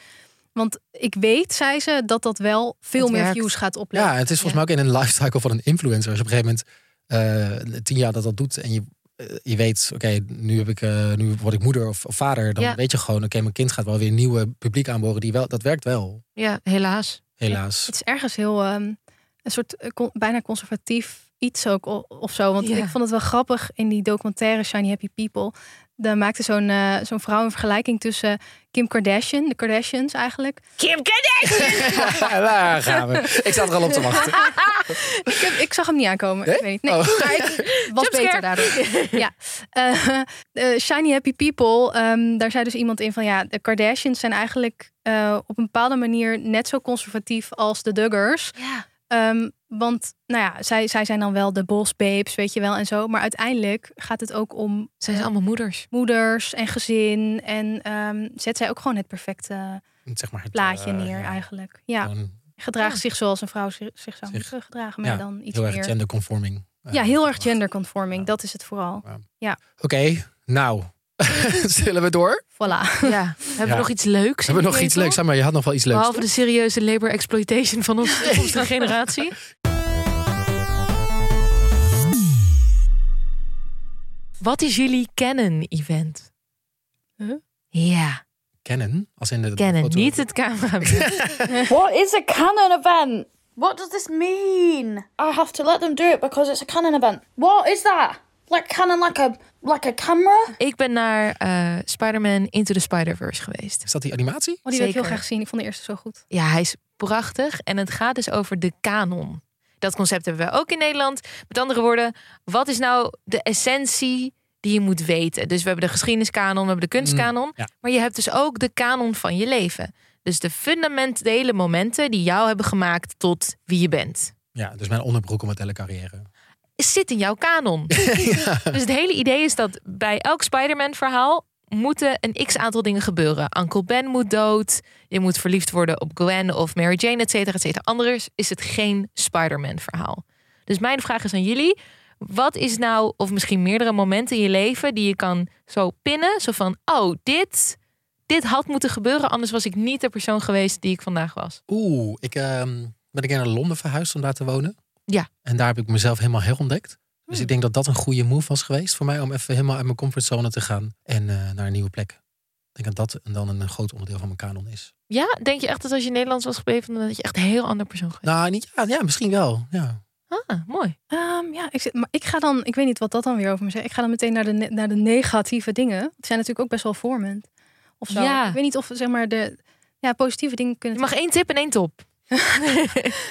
S4: Want ik weet, zei ze, dat dat wel veel
S5: Het
S4: meer
S5: werkt.
S4: views gaat opleveren.
S3: ja, het is volgens mij ook in een lifecycle van een influencer. Als je op een gegeven moment eh, tien jaar dat dat doet en je, eh, je weet, oké, nu, heb ik, eh, nu word ik moeder of, of vader, dan
S5: Ja.
S3: weet je gewoon, oké, mijn kind gaat wel weer een nieuwe publiek aanboren. Die wel, dat werkt wel,
S5: Ja, helaas.
S3: helaas.
S4: Het is ergens heel ehm, een soort eh, con- bijna conservatief iets ook o- of zo. Want
S5: Ja.
S4: ik vond het wel grappig in die documentaire Shiny Happy People. Daar maakte zo'n eh, zo'n vrouw een vergelijking tussen Kim Kardashian, de Kardashians eigenlijk.
S5: Kim Kardashian!
S3: Daar gaan we. Ik zat er al op te wachten.
S4: Ik, heb- ik zag hem niet aankomen.
S3: Nee?
S4: Ik weet niet. Nee,
S3: Oh.
S4: maar ik was beter
S5: Jumpscare.
S4: daardoor. ja. Eh, eh, Shiny Happy People, ehm, daar zei dus iemand in van ja, de Kardashians zijn eigenlijk eh, op een bepaalde manier net zo conservatief als de Duggars.
S5: Ja.
S4: Ehm, want nou ja, zij, zij zijn dan wel de boss babes, weet je wel, en zo. Maar uiteindelijk gaat het ook om
S5: Zijn ze allemaal moeders?
S4: moeders en gezin. En ehm, zet zij ook gewoon het perfecte
S3: Zeg maar het,
S4: plaatje
S3: eh,
S4: neer
S3: ja,
S4: eigenlijk. Ja,
S3: gewoon
S4: gedraagt
S5: Ja.
S4: zich zoals een vrouw zich, zich zou
S3: Zich-
S4: moeten gedragen. Maar
S3: ja,
S4: dan iets
S3: heel erg
S4: meer...
S3: genderconforming. eh,
S4: Ja, heel erg
S3: gedrag.
S4: genderconforming.
S3: Ja.
S4: Dat is het vooral.
S3: Oké, nou. Zullen we door?
S4: Voilà.
S5: Ja. Hebben
S3: Ja.
S5: we nog iets leuks? in
S3: Hebben we nog
S5: die
S3: iets
S5: ketel?
S3: leuks? Zeg maar je had nog wel iets leuks.
S5: Behalve de serieuze labor exploitation van onze toekomstige generatie. Wat is jullie kennen-event?
S4: Huh?
S5: Ja,
S3: Kennen? Als in de
S5: kennen.
S3: foto-
S5: Niet het camerabeeld.
S7: What is a canon event? What does this mean? I have to let them do it because it's a canon event. What is that? Like canon, like a like a camera?
S5: Ik ben naar eh Spider-Man Into the Spider-Verse geweest.
S3: Is dat die animatie?
S4: Oh, die wil ik heel
S5: Zeker.
S4: graag zien. Ik vond de eerste zo goed.
S5: Ja, hij is prachtig. En het gaat dus over de kanon. Dat concept hebben we ook in Nederland. Met andere woorden, wat is nou de essentie die je moet weten? Dus we hebben de geschiedeniskanon, we hebben de kunstkanon.
S3: ja.
S5: Maar je hebt dus ook de kanon van je leven. Dus de fundamentele momenten die jou hebben gemaakt tot wie je bent.
S3: Ja, dus mijn onderbroek om mijn hele carrière.
S5: Zit in jouw kanon. Dus het hele idee is dat bij elk Spider-Man verhaal moeten een x aantal dingen gebeuren. Uncle Ben moet dood, je moet verliefd worden op Gwen of Mary Jane, et cetera, et cetera. Anders is het geen Spider-Man verhaal. Dus mijn vraag is aan jullie, wat is nou, of misschien meerdere momenten in je leven die je kan zo pinnen, zo van, oh, dit, dit had moeten gebeuren, anders was ik niet de persoon geweest die ik vandaag was.
S3: Oeh, ik ehm, ben een keer naar Londen verhuisd om daar te wonen.
S5: Ja.
S3: En daar heb ik mezelf helemaal herontdekt. Dus
S4: Hmm.
S3: ik denk dat dat een goede move was geweest voor mij om even helemaal uit mijn comfortzone te gaan en eh, naar een nieuwe plek. Ik denk dat dat dan een groot onderdeel van mijn kanon is.
S5: Ja, denk je echt dat als je Nederlands was gebleven, dan dat je echt een heel ander persoon geweest?
S3: Nou, niet, ja, ja, misschien wel. Ja.
S5: Ah, mooi.
S4: Ehm, ja, ik, zit, maar ik ga dan... Ik weet niet wat dat dan weer over me zegt. Ik ga dan meteen naar de, ne- naar de negatieve dingen. Het zijn natuurlijk ook best wel vormend. Of zo.
S5: Ja.
S4: Ik weet niet of zeg maar de ja, positieve dingen
S5: Je
S4: kunnen...
S5: mag één tip en één top.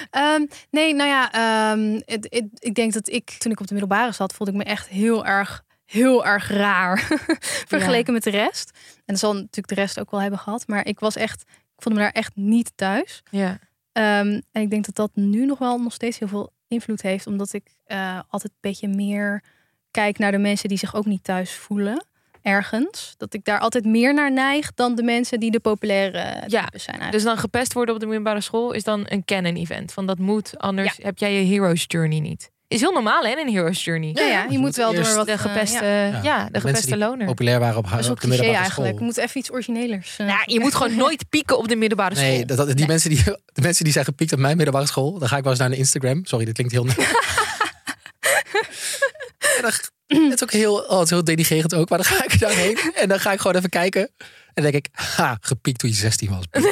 S4: Ehm, nee, nou ja, ehm, het, het- ik denk dat ik toen ik op de middelbare zat, voelde ik me echt heel erg, heel erg raar vergeleken met de rest. En dat zal natuurlijk de rest ook wel hebben gehad, maar ik was echt, ik voelde me daar echt niet thuis.
S5: Ja.
S4: Ehm, en ik denk dat dat nu nog wel nog steeds heel veel invloed heeft, omdat ik eh, altijd een beetje meer kijk naar de mensen die zich ook niet thuis voelen. Ergens. Dat ik daar altijd meer naar neig dan de mensen die de populaire eh,
S5: Ja,
S4: types zijn. Eigenlijk.
S5: Dus dan gepest worden op de middelbare school is dan een canon event. Van dat moet, anders heb jij je hero's journey niet. Is heel normaal hè, in een hero's journey.
S4: ja, ja, je moet wel door
S3: eerst
S4: wat
S5: De
S4: eh,
S5: gepeste,
S4: ja.
S5: ja. de
S3: mensen
S5: gepeste
S3: die
S5: loner.
S3: Populair waren op,
S4: Dat is
S3: op
S4: ook
S3: de
S4: cliché
S3: middelbare
S4: eigenlijk. We
S3: school.
S4: moeten even iets originelers. eh,
S5: Nou, je moet gewoon nooit pieken op de middelbare school.
S3: Nee, dat, dat- die Mensen die, de mensen die zijn gepiekt op mijn middelbare school, dan ga ik wel eens naar een Instagram. Sorry, dit klinkt heel. En dan- het is ook heel, oh, het is heel denigrerend ook, maar dan ga ik daarheen en dan ga ik gewoon even kijken. En dan denk ik, ha, gepiekt toen je 16 was. Ik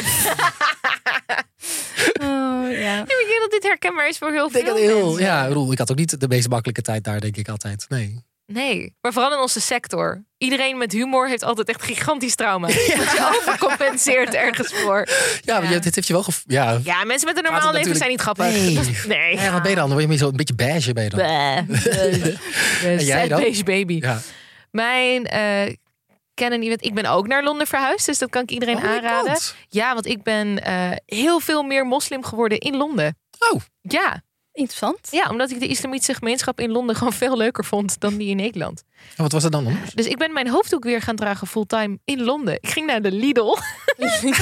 S4: oh, ja.
S5: Ik denk dat dit herkenbaar is voor heel veel
S3: denk dat heel,
S5: mensen.
S3: ja, ik bedoel, ik had ook niet de meest makkelijke tijd daar, denk ik altijd. Nee.
S5: Nee, maar vooral in onze sector. Iedereen met humor heeft altijd echt gigantisch trauma. Dat je overcompenseert ergens voor.
S3: Ja, maar
S5: Ja.
S3: je- dit heeft je wel gev- ja.
S5: Ja, mensen met een normaal
S3: Praten
S5: leven zijn niet grappig.
S3: Nee.
S5: nee.
S3: Ja, wat ben je dan? Dan word je meer zo een beetje beige ben je dan.
S5: Eh, dus- En
S3: jij dan?
S5: baby.
S3: Ja.
S5: Mijn eh kennen event. Ik ben ook naar Londen verhuisd, dus dat kan ik iedereen
S3: Oh my
S5: aanraden.
S3: God.
S5: Ja, want ik ben eh, heel veel meer moslim geworden in Londen.
S3: Oh.
S5: Ja,
S4: Interessant.
S5: ja, omdat ik de islamitische gemeenschap in Londen gewoon veel leuker vond dan die in Nederland.
S3: En wat was dat dan? dan?
S5: Dus ik ben mijn hoofddoek weer gaan dragen fulltime in Londen. Ik ging naar de Lidl.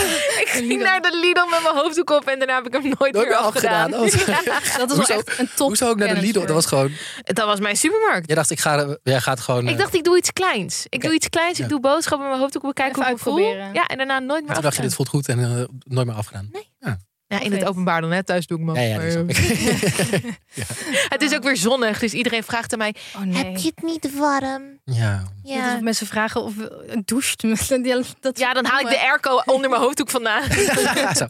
S5: ik ging naar de Lidl met mijn hoofddoek op en daarna heb ik hem nooit,
S3: Nooit
S5: meer
S3: meer
S5: afgedaan.
S3: afgedaan. Oh,
S5: Ja.
S4: Dat is
S3: Hoezo-
S4: wel echt een top.
S3: Hoezo ook naar de
S4: kennis
S3: Lidl?
S4: voor-
S3: Dat was gewoon,
S5: Dat was mijn supermarkt.
S3: jij dacht, ik ga, jij gaat gewoon...
S5: Ik
S3: eh,
S5: dacht, ik doe iets kleins. Ik doe iets kleins, ik
S3: Ja.
S5: doe boodschappen, mijn hoofddoek bekijken hoe
S4: Even
S5: ik me voel.
S4: uitproberen.
S5: Ja, en daarna nooit meer
S3: Toen dacht je,
S5: afgedaan.
S3: dit voelt goed en eh, nooit meer afgedaan.
S5: Nee.
S3: Ja.
S5: Ja, in het
S4: Oké.
S5: openbaar dan, hè? Thuis doe ik me. eh,
S3: Ja, ja, dat snap ik.
S5: Het is ook weer zonnig, dus iedereen vraagt aan mij:
S4: Oh nee.
S5: Heb je het niet warm?
S3: ja.
S4: Net alsof mensen vragen of eh, doucht. Dat- dat-
S5: Ja, dan haal ik de airco onder mijn hoofddoek vandaan.
S3: Zo,
S5: Dat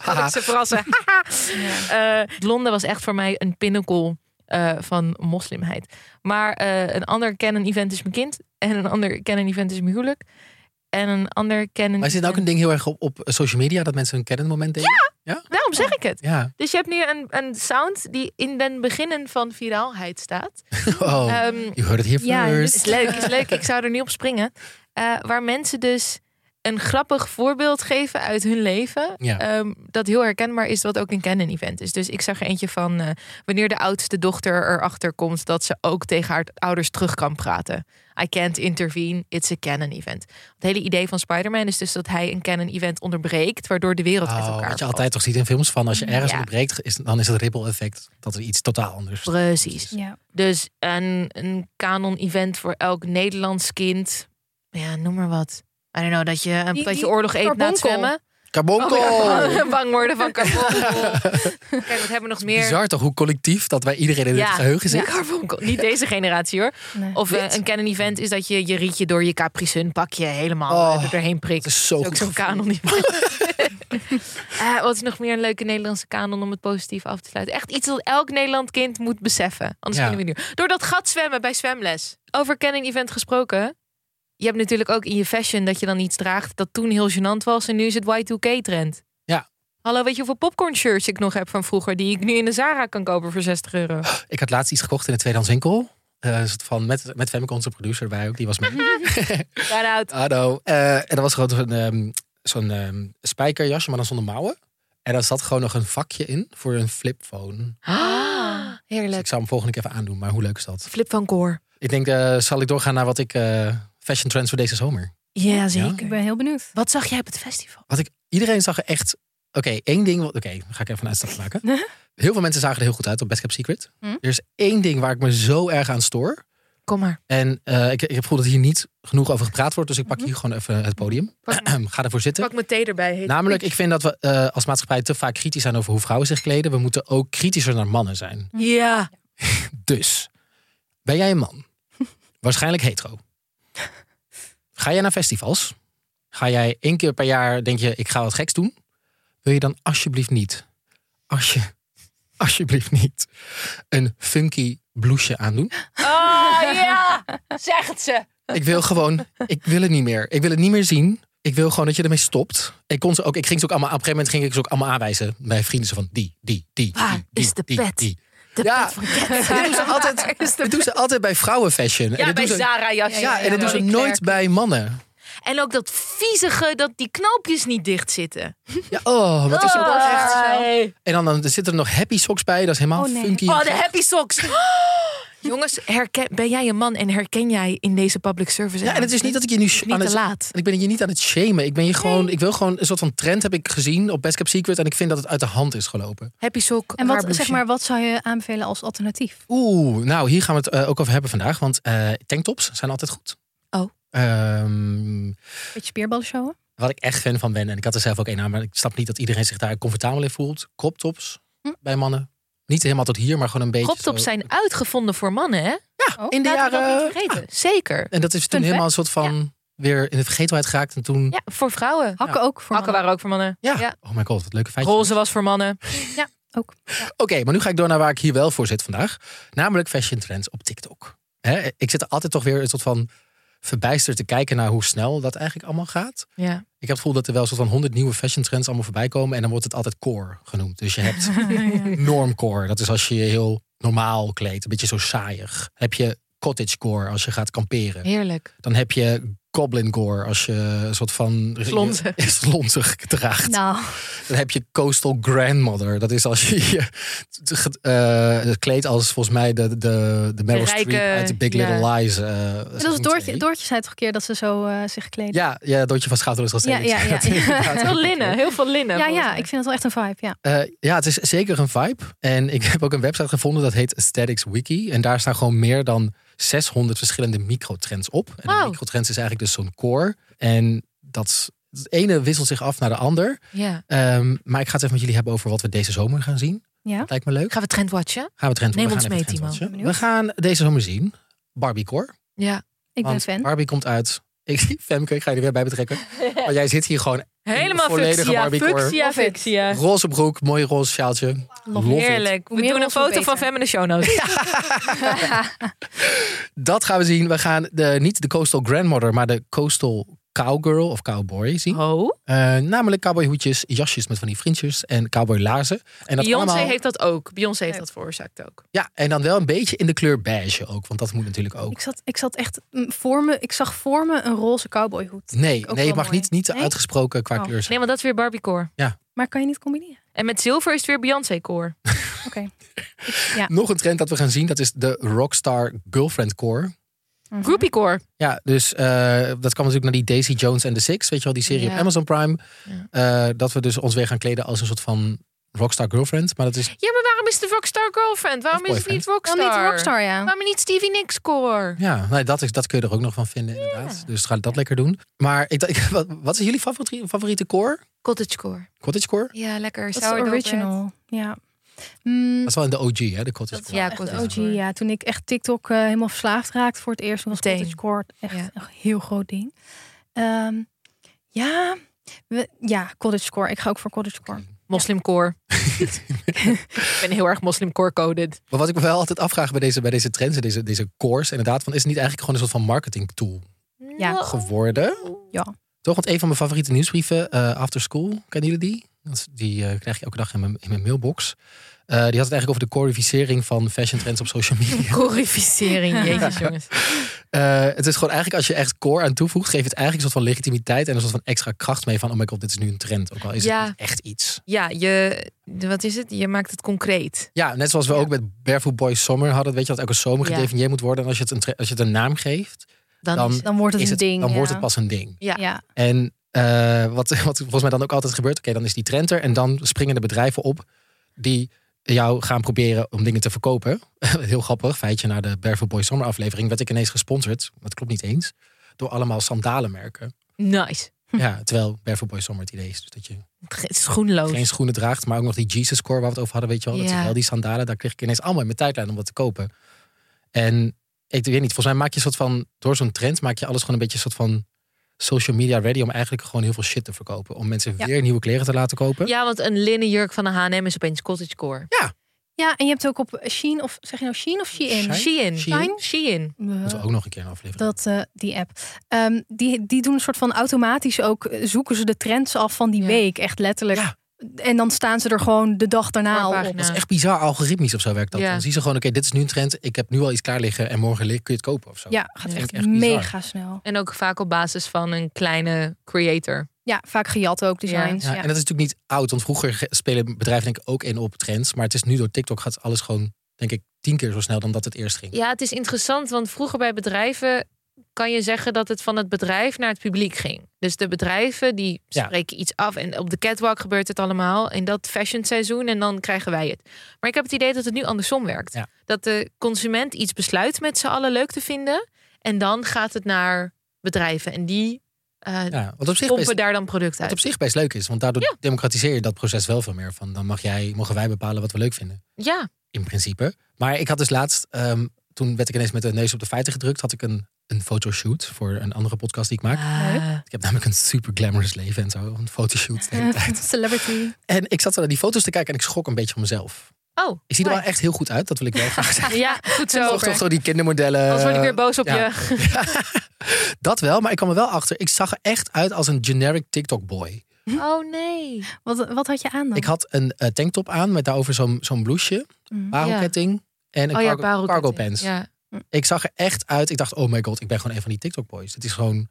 S3: haha.
S5: ik ze verrassen. Eh, Londen was echt voor mij een pinnacle eh, van moslimheid. Maar eh, een ander canon event is mijn kind. En een ander canon event is mijn huwelijk. En een ander canon
S3: Maar is dit nou ook een
S5: event-
S3: ding heel erg op, op social media dat mensen een canon moment delen?
S5: Daarom zeg ik het.
S3: Ja.
S5: Dus je hebt nu een, een sound die in den beginnen van viraalheid staat.
S3: Oh,
S5: Ehm,
S3: you heard it here
S4: Ja, dit
S3: first.
S5: is leuk, is leuk. Ik zou er niet op springen. Eh, waar mensen dus een grappig voorbeeld geven uit hun leven.
S3: Ja.
S5: Ehm, dat heel herkenbaar is, wat ook een canon event is. Dus ik zag er eentje van eh, wanneer de oudste dochter erachter komt dat ze ook tegen haar ouders terug kan praten. I can't intervene, it's a canon event. Het hele idee van Spider-Man is dus dat hij een canon event onderbreekt, waardoor de wereld uit
S3: Oh,
S5: elkaar
S3: wat je
S5: valt.
S3: altijd toch ziet in films van als je ergens
S5: Ja.
S3: onderbreekt, is, dan is het ripple effect dat er iets totaal anders.
S5: Precies.
S4: Ja.
S5: Dus een, een canon-event voor elk Nederlands kind. Ja, noem maar wat. I don't know, dat je een
S4: Die-
S5: patatje
S4: die
S5: oorlog eet na het
S4: carbonkel. Oh.
S5: zwemmen.
S3: Carbonkel!
S5: Bang- Bang worden van carbonkel. Kijk, wat hebben we nog meer?
S3: Bizar toch hoe collectief dat wij iedereen in
S5: Ja,
S3: het geheugen zit.
S5: ja, carbonkel. Niet deze generatie hoor.
S4: Nee.
S5: Of eh, een canon-event is dat je je rietje door je Capri Sun pakje helemaal
S3: Oh,
S5: eh, er doorheen prikt.
S3: dat is zo
S5: ook
S3: goed
S5: zo'n
S3: gevoel.
S5: canon-event. Eh, wat is nog meer een leuke Nederlandse kanon om het positief af te sluiten? Echt iets dat elk Nederland kind moet beseffen. Anders
S3: Ja.
S5: kunnen we niet. Door dat gat zwemmen bij zwemles. Over canon-event gesproken. Je hebt natuurlijk ook in je fashion dat je dan iets draagt dat toen heel gênant was en nu is het Y2K-trend.
S3: Ja.
S5: Hallo, weet je hoeveel popcorn shirts ik nog heb van vroeger die ik nu in de Zara kan kopen voor 60 euro?
S3: Ik had laatst iets gekocht in de tweedehands winkel. Eh, een soort van met, met Femke, onze producer erbij ook, die was mee.
S5: Mhm. Shout out.
S3: Hallo. Eh, en dat was gewoon zo'n ehm, zo'n ehm, spijkerjasje, maar dan zonder mouwen. En daar zat gewoon nog een vakje in voor een flipphone.
S5: Ah,
S3: Dus
S5: heerlijk.
S3: ik zou hem volgende keer even aandoen, maar hoe leuk is dat?
S5: Flip van Koor.
S3: Ik denk, eh, zal ik doorgaan naar wat ik eh, fashion trends voor deze zomer?
S5: Ja,
S3: zeker.
S4: Ik ben heel benieuwd.
S5: Wat zag jij op het festival?
S3: Wat ik, iedereen zag er echt. Oké, één ding. wat- Oké, dan ga ik even een uitstap maken. Heel veel mensen zagen er heel goed uit op Best Cap Secret.
S4: Hm?
S3: Er is één ding waar ik me zo erg aan stoor.
S5: Kom maar.
S3: En eh, ik, ik heb het gevoel dat hier niet genoeg over gepraat wordt. Dus ik pak hier gewoon even het podium.
S5: Pak
S3: Ga ervoor zitten.
S5: Pak mijn thee erbij. heet
S3: Namelijk, ik vind dat we eh, als maatschappij te vaak kritisch zijn over hoe vrouwen zich kleden. We moeten ook kritischer naar mannen zijn.
S5: het. Ja.
S3: Dus, ben jij een man? Waarschijnlijk hetero. Ga jij naar festivals? Ga jij één keer per jaar, denk je, ik ga wat geks doen? Wil je dan alsjeblieft niet, alsje, alsjeblieft niet, een funky blouseje aandoen?
S5: Oh ja, zegt ze.
S3: Ik wil gewoon, ik wil het niet meer. Ik wil het niet meer zien. Ik wil gewoon dat je ermee stopt. Ik, kon ze ook, ik ging ze ook allemaal, op een gegeven moment ging ik ze ook allemaal aanwijzen bij vrienden. Zo van die, die, die.
S5: Waar
S3: die, die,
S5: is de
S3: die,
S5: pet?
S3: die.
S5: De
S3: Ja.
S5: pet van Kat.
S3: Dit doen ze altijd, dit doen ze altijd bij vrouwenfashion. en
S5: Ja,
S3: dit
S5: bij
S3: doen ze,
S5: Zara jasje.
S3: ja, en dat doen ze
S5: Marie
S3: nooit
S5: Claire.
S3: bij mannen.
S5: En ook dat viezige dat die knoopjes niet dicht zitten.
S3: Ja, oh, wat is er
S5: Oh,
S3: echt?
S5: nee.
S3: En dan, dan zitten er nog happy socks bij. Dat is helemaal
S4: Oh, nee.
S3: funky.
S5: Oh, de happy socks. Jongens, herken, ben jij een man en herken jij in deze public service?
S3: ja, en het is niet dat ik je nu sh-
S5: Niet
S3: aan
S5: te
S3: het-
S5: laat.
S3: En ik ben je niet aan het shamen. Ik ben je gewoon, ik wil gewoon een soort van trend heb ik gezien op Best Cap Secret. En ik vind dat het uit de hand is gelopen.
S5: Happy sock.
S4: En
S5: raar
S4: wat,
S5: blouseje.
S4: zeg maar, wat zou je aanbevelen als alternatief?
S3: Oeh, nou hier gaan we het eh, ook over hebben vandaag. Want eh, tanktops zijn altijd goed.
S5: Oh.
S3: Ehm,
S4: Beetje spierballen showen?
S3: wat ik echt fan van ben, en ik had er zelf ook één aan, maar ik snap niet dat iedereen zich daar comfortabel in voelt. Crop tops
S4: Hm.
S3: bij mannen. Niet helemaal tot hier, maar gewoon een beetje.
S5: Croptops
S3: zo-
S5: zijn uitgevonden voor mannen, hè?
S4: Oh,
S3: Ja, in de
S5: Laten we dat
S3: jaren.
S5: niet vergeten. Zeker.
S3: En dat is toen
S4: fact.
S3: helemaal een soort van weer in de vergetelheid geraakt. En toen.
S5: Ja, voor vrouwen. Hakken,
S4: Hakken ook voor mannen.
S5: waren ook voor mannen.
S3: Ja. Oh mijn god, wat leuke feitje.
S5: Roze was voor mannen.
S4: ook.
S3: Oké, maar nu ga ik door naar waar ik hier wel voor zit vandaag. Namelijk fashion trends op TikTok. Hè, ik zit er altijd toch weer een soort van verbijsterd te kijken naar hoe snel dat eigenlijk allemaal gaat.
S5: Ja.
S3: Ik heb het gevoel dat er wel een soort van honderd nieuwe fashion trends allemaal voorbij komen. En dan wordt het altijd core genoemd. Dus je hebt normcore. Dat is als je je heel normaal kleedt. Een beetje zo saaiig. Heb je cottagecore als je gaat kamperen.
S5: Heerlijk.
S3: Dan heb je goblincore als je een soort van...
S5: Slonzig.
S3: Slonzig draagt.
S4: Nou,
S3: Dan heb je coastal grandmother. Dat is als je je eh, kleedt als volgens mij de, de, de Meryl
S5: De rijke,
S3: Streep uit de Big Little
S5: ja.
S3: Lies. eh,
S4: dat was
S3: seizoen
S4: Doortje.
S3: twee.
S4: Doortje zei toch een keer dat ze zo eh, zich kleden.
S3: Ja, ja, Doortje van Schaafdorp is dat
S4: Ja,
S3: steeds.
S4: ja, ja.
S3: Dat is inderdaad
S5: Heel
S3: ook-
S5: linnen. Heel veel linnen.
S4: ja,
S5: volgens
S4: ja,
S5: mij.
S4: ik vind het wel echt een vibe. Ja.
S3: Eh, ja, het is zeker een vibe. En ik heb ook een website gevonden dat heet Aesthetics Wiki. En daar staan gewoon meer dan 600 verschillende microtrends op. En een
S5: Wauw.
S3: microtrends is eigenlijk dus zo'n core. En dat het ene wisselt zich af naar de ander.
S5: Ja.
S3: Ehm, maar ik ga het even met jullie hebben over wat we deze zomer gaan zien.
S4: Ja.
S3: Dat lijkt me leuk.
S5: Gaan we trendwatchen?
S3: Gaan we trend
S5: Neem
S3: we gaan
S5: ons
S3: even
S5: mee,
S3: trend
S5: Timo.
S3: watchen.
S4: Benieuwd.
S3: We gaan deze zomer zien. Barbiecore.
S5: Ja.
S4: Ik ben
S3: want
S4: fan.
S3: Barbie komt uit. Ik zie Femke, ik ga je er weer bij betrekken. Maar jij zit hier gewoon
S5: Helemaal
S3: volledige
S5: fuchsia,
S3: Barbiecore.
S5: fuchsia,
S4: Love it.
S5: fuchsia.
S3: roze broek, mooi roze sjaaltje. Love it.
S5: Heerlijk.
S4: Hoe
S5: We
S4: meer
S5: doen een
S4: roze, hoe
S5: foto van
S4: beter.
S5: Fem in de show notes.
S3: Dat gaan we zien. We gaan de, niet de Coastal Grandmother, maar de Coastal Cowgirl of Cowboy zien.
S5: Oh.
S3: Eh, namelijk cowboyhoedjes, jasjes met van die vriendjes en cowboylaarzen. En dat
S5: Beyoncé
S3: allemaal,
S5: heeft dat ook. Beyoncé heeft dat veroorzaakt ook.
S3: Ja, en dan wel een beetje in de kleur beige ook, want dat moet natuurlijk ook.
S4: Ik zat, ik zat echt mm, voor me, ik zag voor me een roze cowboyhoed.
S3: Nee,
S4: ook
S3: nee het
S4: wel
S3: mag
S4: mooi.
S3: niet, niet te
S4: Nee?
S3: uitgesproken qua
S4: Oh.
S3: kleur zijn.
S5: Nee, want dat is weer Barbiecore.
S4: Maar kan je niet combineren?
S5: En met zilver is het weer Beyoncé-core.
S4: Oké.
S3: Nog een trend dat we gaan zien, dat is de Rockstar Girlfriend Core.
S5: Mhm. Groupie-core.
S3: Ja, dus eh, dat kwam natuurlijk naar die Daisy Jones and the Six. Weet je wel, die serie op
S5: Ja.
S3: Amazon Prime. Eh, dat we dus ons weer gaan kleden als een soort van rockstar girlfriend. Maar dat is,
S5: Ja, maar waarom is de Rockstar Girlfriend? Waarom
S3: Of
S5: is het niet Rockstar?
S4: Waarom niet rockstar, ja?
S5: Waarom niet Stevie Nicks-core?
S3: ja, nee, dat, is, dat kun je er ook nog van vinden inderdaad. Dus ga dat lekker doen. Maar ik, dacht- ik- wat, wat is jullie favoriete, favoriete core?
S5: Cottagecore.
S3: Cottagecore?
S5: Ja, lekker.
S4: Dat is de original. Ja. Mm,
S3: Dat is wel in de OG, hè, de cottagecore.
S5: Ja,
S4: de OG,
S5: cottagecore.
S4: ja. Toen ik echt TikTok eh, helemaal verslaafd raakte voor het eerst, toen was
S5: Meteen.
S4: cottagecore echt
S5: Ja.
S4: een heel groot ding. Ehm, ja, we, ja, cottagecore. Ik ga ook voor cottagecore.
S5: Moslimcore. ik ben heel erg moslimcore-coded.
S3: Maar wat ik me wel altijd afvraag bij deze, bij deze trends en deze, deze cores, inderdaad, van, is het niet eigenlijk gewoon een soort van marketing tool
S4: Ja.
S3: geworden?
S4: Ja.
S3: Toch, want een van mijn favoriete nieuwsbrieven, eh, After School, kennen jullie die? Dat is- Die eh, krijg ik elke dag in mijn, in mijn mailbox. Eh, die had het eigenlijk over de corificering van fashion trends op social media.
S5: Glorificering, jezus jongens.
S3: Eh, het is gewoon eigenlijk, als je echt core aan toevoegt, geeft het eigenlijk een soort van legitimiteit en een soort van extra kracht mee van, oh my god, dit is nu een trend. Ook al is
S5: Ja.
S3: het niet echt iets.
S5: Ja, je, de- wat is het? Je maakt het concreet.
S3: Ja, net zoals we ook met Barefoot Boy Summer hadden, weet je, dat elke zomer
S5: Ja.
S3: gedefinieerd moet worden. En als je het een, tre- als je het een naam geeft,
S5: Dan,
S3: Dan-
S5: is het-
S4: Dan wordt het
S3: is
S4: een
S3: het,
S4: ding.
S3: dan
S4: ja.
S3: wordt het pas een ding.
S5: Ja.
S4: Ja.
S3: En eh, wat, wat volgens mij dan ook altijd gebeurt, oké, dan is die trend er en dan springen de bedrijven op die jou gaan proberen om dingen te verkopen. Heel grappig, feitje, na de Barefoot Boy Summer aflevering werd ik ineens gesponsord, dat klopt niet eens, door allemaal sandalenmerken.
S5: nice.
S3: Ja, terwijl Barefoot Boy Summer het idee is dus dat je
S5: Het is schoenloos.
S3: geen schoenen draagt, maar ook nog die Jesus Core waar we het over hadden, weet je wel. Dat
S5: Oh. Ja.
S3: zijn wel die sandalen, daar kreeg ik ineens allemaal in mijn tijdlijn om dat te kopen. En ik weet niet, volgens mij maak je een soort van, door zo'n trend maak je alles gewoon een beetje een soort van social media ready om eigenlijk gewoon heel veel shit te verkopen. Om mensen weer nieuwe kleren te laten kopen.
S5: Ja, want een linnen jurk van de H&M is opeens cottagecore.
S4: ja, en je hebt ook op Sheen, of zeg je nou Sheen of Shein?
S3: Shein? Shein?
S5: Shein. Shein.
S4: Eh,
S3: Moeten we ook nog een keer een aflevering.
S4: Dat, eh, die app. Ehm, die, die doen een soort van automatisch ook, eh, zoeken ze de trends af van die
S5: Ja.
S4: week, echt letterlijk.
S3: Ja.
S4: En dan staan ze er gewoon de dag daarna al op.
S5: Voorpagina.
S3: Dat is echt bizar algoritmisch of zo werkt dat.
S5: Ja.
S3: Dan zien ze gewoon, oké, dit is nu een trend. Ik heb nu al iets klaar liggen en morgen li- kun je het kopen of zo.
S4: Ja, gaat
S3: Ja.
S4: echt,
S3: Oh, Echt bizar.
S4: mega snel.
S5: En ook vaak op basis van een kleine creator.
S4: Ja, vaak gejat ook designs.
S3: Ja,
S4: Dus Ja,
S3: En dat is natuurlijk niet oud, want vroeger ge- spelen bedrijven denk ik ook in op trends. Maar het is nu door TikTok gaat alles gewoon, denk ik, tien keer zo snel dan dat het eerst ging.
S5: Ja, het is interessant, want vroeger bij bedrijven kan je zeggen dat het van het bedrijf naar het publiek ging. Dus de bedrijven die
S3: Ja.
S5: spreken iets af en op de catwalk gebeurt het allemaal in dat fashion seizoen en dan krijgen wij het. Maar ik heb het idee dat het nu andersom werkt.
S3: Ja.
S5: Dat de consument iets besluit met z'n allen leuk te vinden en dan gaat het naar bedrijven en die eh
S3: Ja, wat op zich
S5: pompen
S3: best,
S5: daar dan product
S3: wat
S5: uit.
S3: op zich best leuk is, want daardoor democratiseer je dat proces wel veel meer. Van dan mag jij, mogen wij bepalen wat we leuk vinden.
S5: Ja,
S3: In principe. Maar ik had dus laatst, ehm, toen werd ik ineens met de neus op de feiten gedrukt, had ik een, een fotoshoot voor een andere podcast die ik maak. Ik heb namelijk een super glamorous leven en zo. Een fotoshoot de hele
S4: Eh,
S3: tijd.
S4: Celebrity.
S3: En ik zat zo naar die foto's te kijken en ik schrok een beetje van mezelf.
S5: oh,
S3: Ik zie er wel
S5: why?
S3: echt heel goed uit, dat wil ik wel graag zeggen.
S5: Ja, goed zo.
S3: Toch, toch, toch, die kindermodellen.
S5: Anders word ik weer boos op
S3: ja.
S5: je.
S3: Dat wel, maar ik kwam er wel achter. Ik zag er echt uit als een generic TikTok boy.
S5: Oh nee.
S4: Wat, wat had je aan dan?
S3: Ik had een eh, tanktop aan met daarover zo'n zo'n blouseje,
S4: Mhm.
S3: parelketting en een
S5: Mm. oh
S3: cargo, cargo
S5: parelketting.
S3: pants.
S5: Ja.
S3: Ik zag er echt uit. Ik dacht, oh my god, ik ben gewoon een van die TikTok boys. Het is gewoon...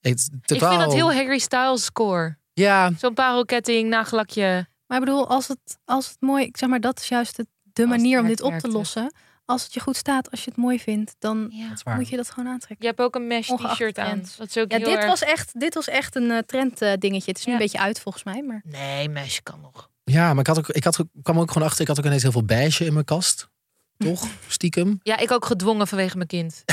S3: Het, is totaal-
S5: Ik vind dat heel Harry Styles score.
S3: Ja,
S5: Zo'n parelketting, nagelakje.
S4: Maar ik bedoel, als het, als het mooi... Ik zeg maar, dat is juist het, de
S5: Als het
S4: manier om dit
S5: werkt,
S4: op
S5: werkt
S4: te
S5: het.
S4: lossen. Als het je goed staat, als je het mooi vindt, dan
S5: Ja.
S3: dat is waar.
S4: moet je dat gewoon aantrekken.
S5: Je hebt ook een mesh
S4: Ongeacht
S5: t-shirt aan.
S4: trends.
S5: Dat is ook
S4: Ja,
S5: heel
S4: dit,
S5: erg-
S4: was echt, dit was echt een eh, trend eh, dingetje. Het is nu
S5: Ja.
S4: een beetje uit volgens mij, maar...
S5: Nee, mesh kan nog.
S3: Ja, maar ik, had ook, ik had, ook- kwam ook gewoon achter, ik had ook ineens heel veel beige in mijn kast. Toch? Stiekem.
S5: Ja, ik ook gedwongen vanwege mijn kind.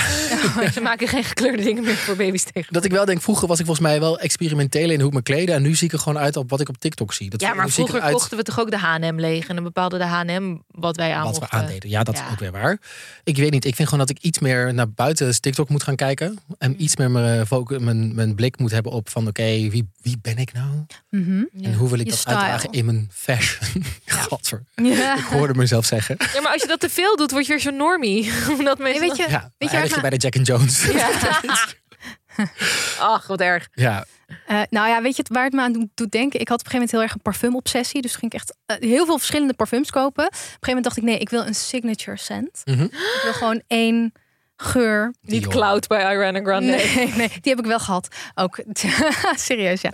S5: Ze maken geen gekleurde dingen meer voor baby's tegen.
S3: Dat ik wel denk, vroeger was ik volgens mij wel experimenteel in hoe ik me kleden. En nu zie ik er gewoon uit op wat ik op TikTok zie. Dat
S5: Ja, maar
S3: nu zie ik
S5: vroeger
S3: eruit
S5: kochten we toch ook de H&M leeg. En dan bepaalde de H&M wat wij aan
S3: wat we
S5: mochten.
S3: aandeden. Ja, dat
S5: eh, Ja.
S3: is ook weer waar. Ik weet niet. Ik vind gewoon dat ik iets meer naar buiten TikTok moet gaan kijken. En iets meer mijn, focus, mijn, mijn blik moet hebben op van oké, wie, wie ben ik nou? En hoe wil ik
S4: Je
S3: dat
S4: style.
S3: uitdragen in mijn fashion? Godver.
S4: Ja.
S3: Ik hoorde mezelf zeggen.
S5: Ja, maar als je dat te veel doet, word je weer zo'n normie. Omdat mensen...
S4: weet je,
S3: Ja, dan
S4: weet je,
S3: eindig
S4: waar-
S3: je bij de Jack and Jones. Ja.
S5: Ach, wat erg.
S4: Eh, nou ja, weet je het- waar het me aan doet- doet denken? Ik had op een gegeven moment heel erg een parfumobsessie. Dus ging ik echt eh, heel veel verschillende parfums kopen. Op een gegeven moment dacht ik, nee, ik wil een signature scent.
S3: Mhm.
S4: Ik wil gewoon één geur.
S5: Niet
S3: Dior.
S5: Cloud bij Ariana Grande.
S4: Nee, nee, die heb ik wel gehad. Ook serieus, ja.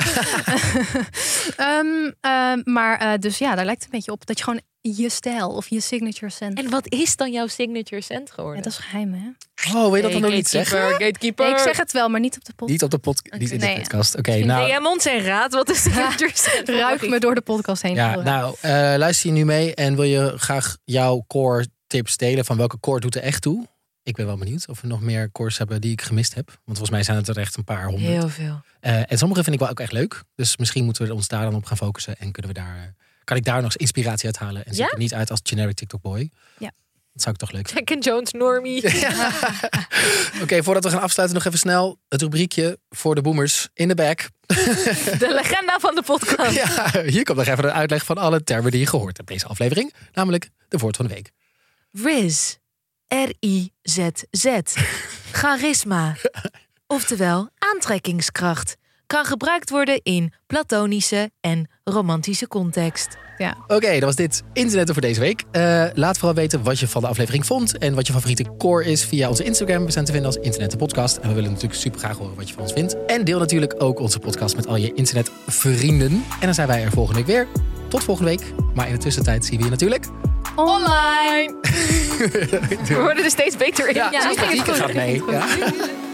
S4: Ehm, ehm, maar eh, dus ja, daar lijkt het een beetje op dat je gewoon je stijl of je signature scent.
S5: En wat is dan jouw signature scent
S4: Ja,
S5: geworden?
S4: dat is geheim, hè?
S3: Oh, wil je dat dan ook niet zeggen?
S5: gatekeeper, gatekeeper.
S4: Nee, ik zeg het wel, maar niet op de podcast.
S3: Niet op de pod, niet in de
S4: Nee.
S3: podcast. Oké, nou.
S5: DM ons en raad wat is signature scent.
S4: Ruik me door de podcast heen.
S3: Ja,
S4: Flora.
S3: nou, eh, luister je nu mee en wil je graag jouw core tips delen van welke core doet er echt toe? Ik ben wel benieuwd of we nog meer cores hebben die ik gemist heb. Want volgens mij zijn het er echt een paar honderd.
S5: Heel veel.
S3: Eh, en sommige vind ik wel ook echt leuk. Dus misschien moeten we ons daar dan op gaan focussen. En kunnen we daar, eh, kan ik daar nog eens inspiratie uit halen. En zie
S5: Ja?
S3: ik er niet uit als generic TikTok boy.
S4: Ja.
S3: Dat zou ik toch leuk vinden.
S5: Jack and Jones normie.
S3: Oké, voordat we gaan afsluiten nog even snel. Het rubriekje voor de boomers in de back.
S5: De legenda van de podcast.
S3: Ja, hier komt nog even een uitleg van alle termen die je gehoord hebt deze aflevering. Namelijk de woord van de week.
S5: Riz. R-I-Z-Z. Charisma. Oftewel aantrekkingskracht. Kan gebruikt worden in platonische en romantische context.
S3: Oké, dat was dit internet voor deze week. Eh, laat vooral weten wat je van de aflevering vond en wat je favoriete core is via onze Instagram. We zijn te vinden als Internet de Podcast. En we willen natuurlijk super graag horen wat je van ons vindt. En deel natuurlijk ook onze podcast met al je internetvrienden. En dan zijn wij er volgende week weer. Tot volgende week. Maar in de tussentijd zien we je natuurlijk.
S5: Online. We worden er steeds beter in.
S4: Ja,
S3: Sympathieke gaat mee. Ja.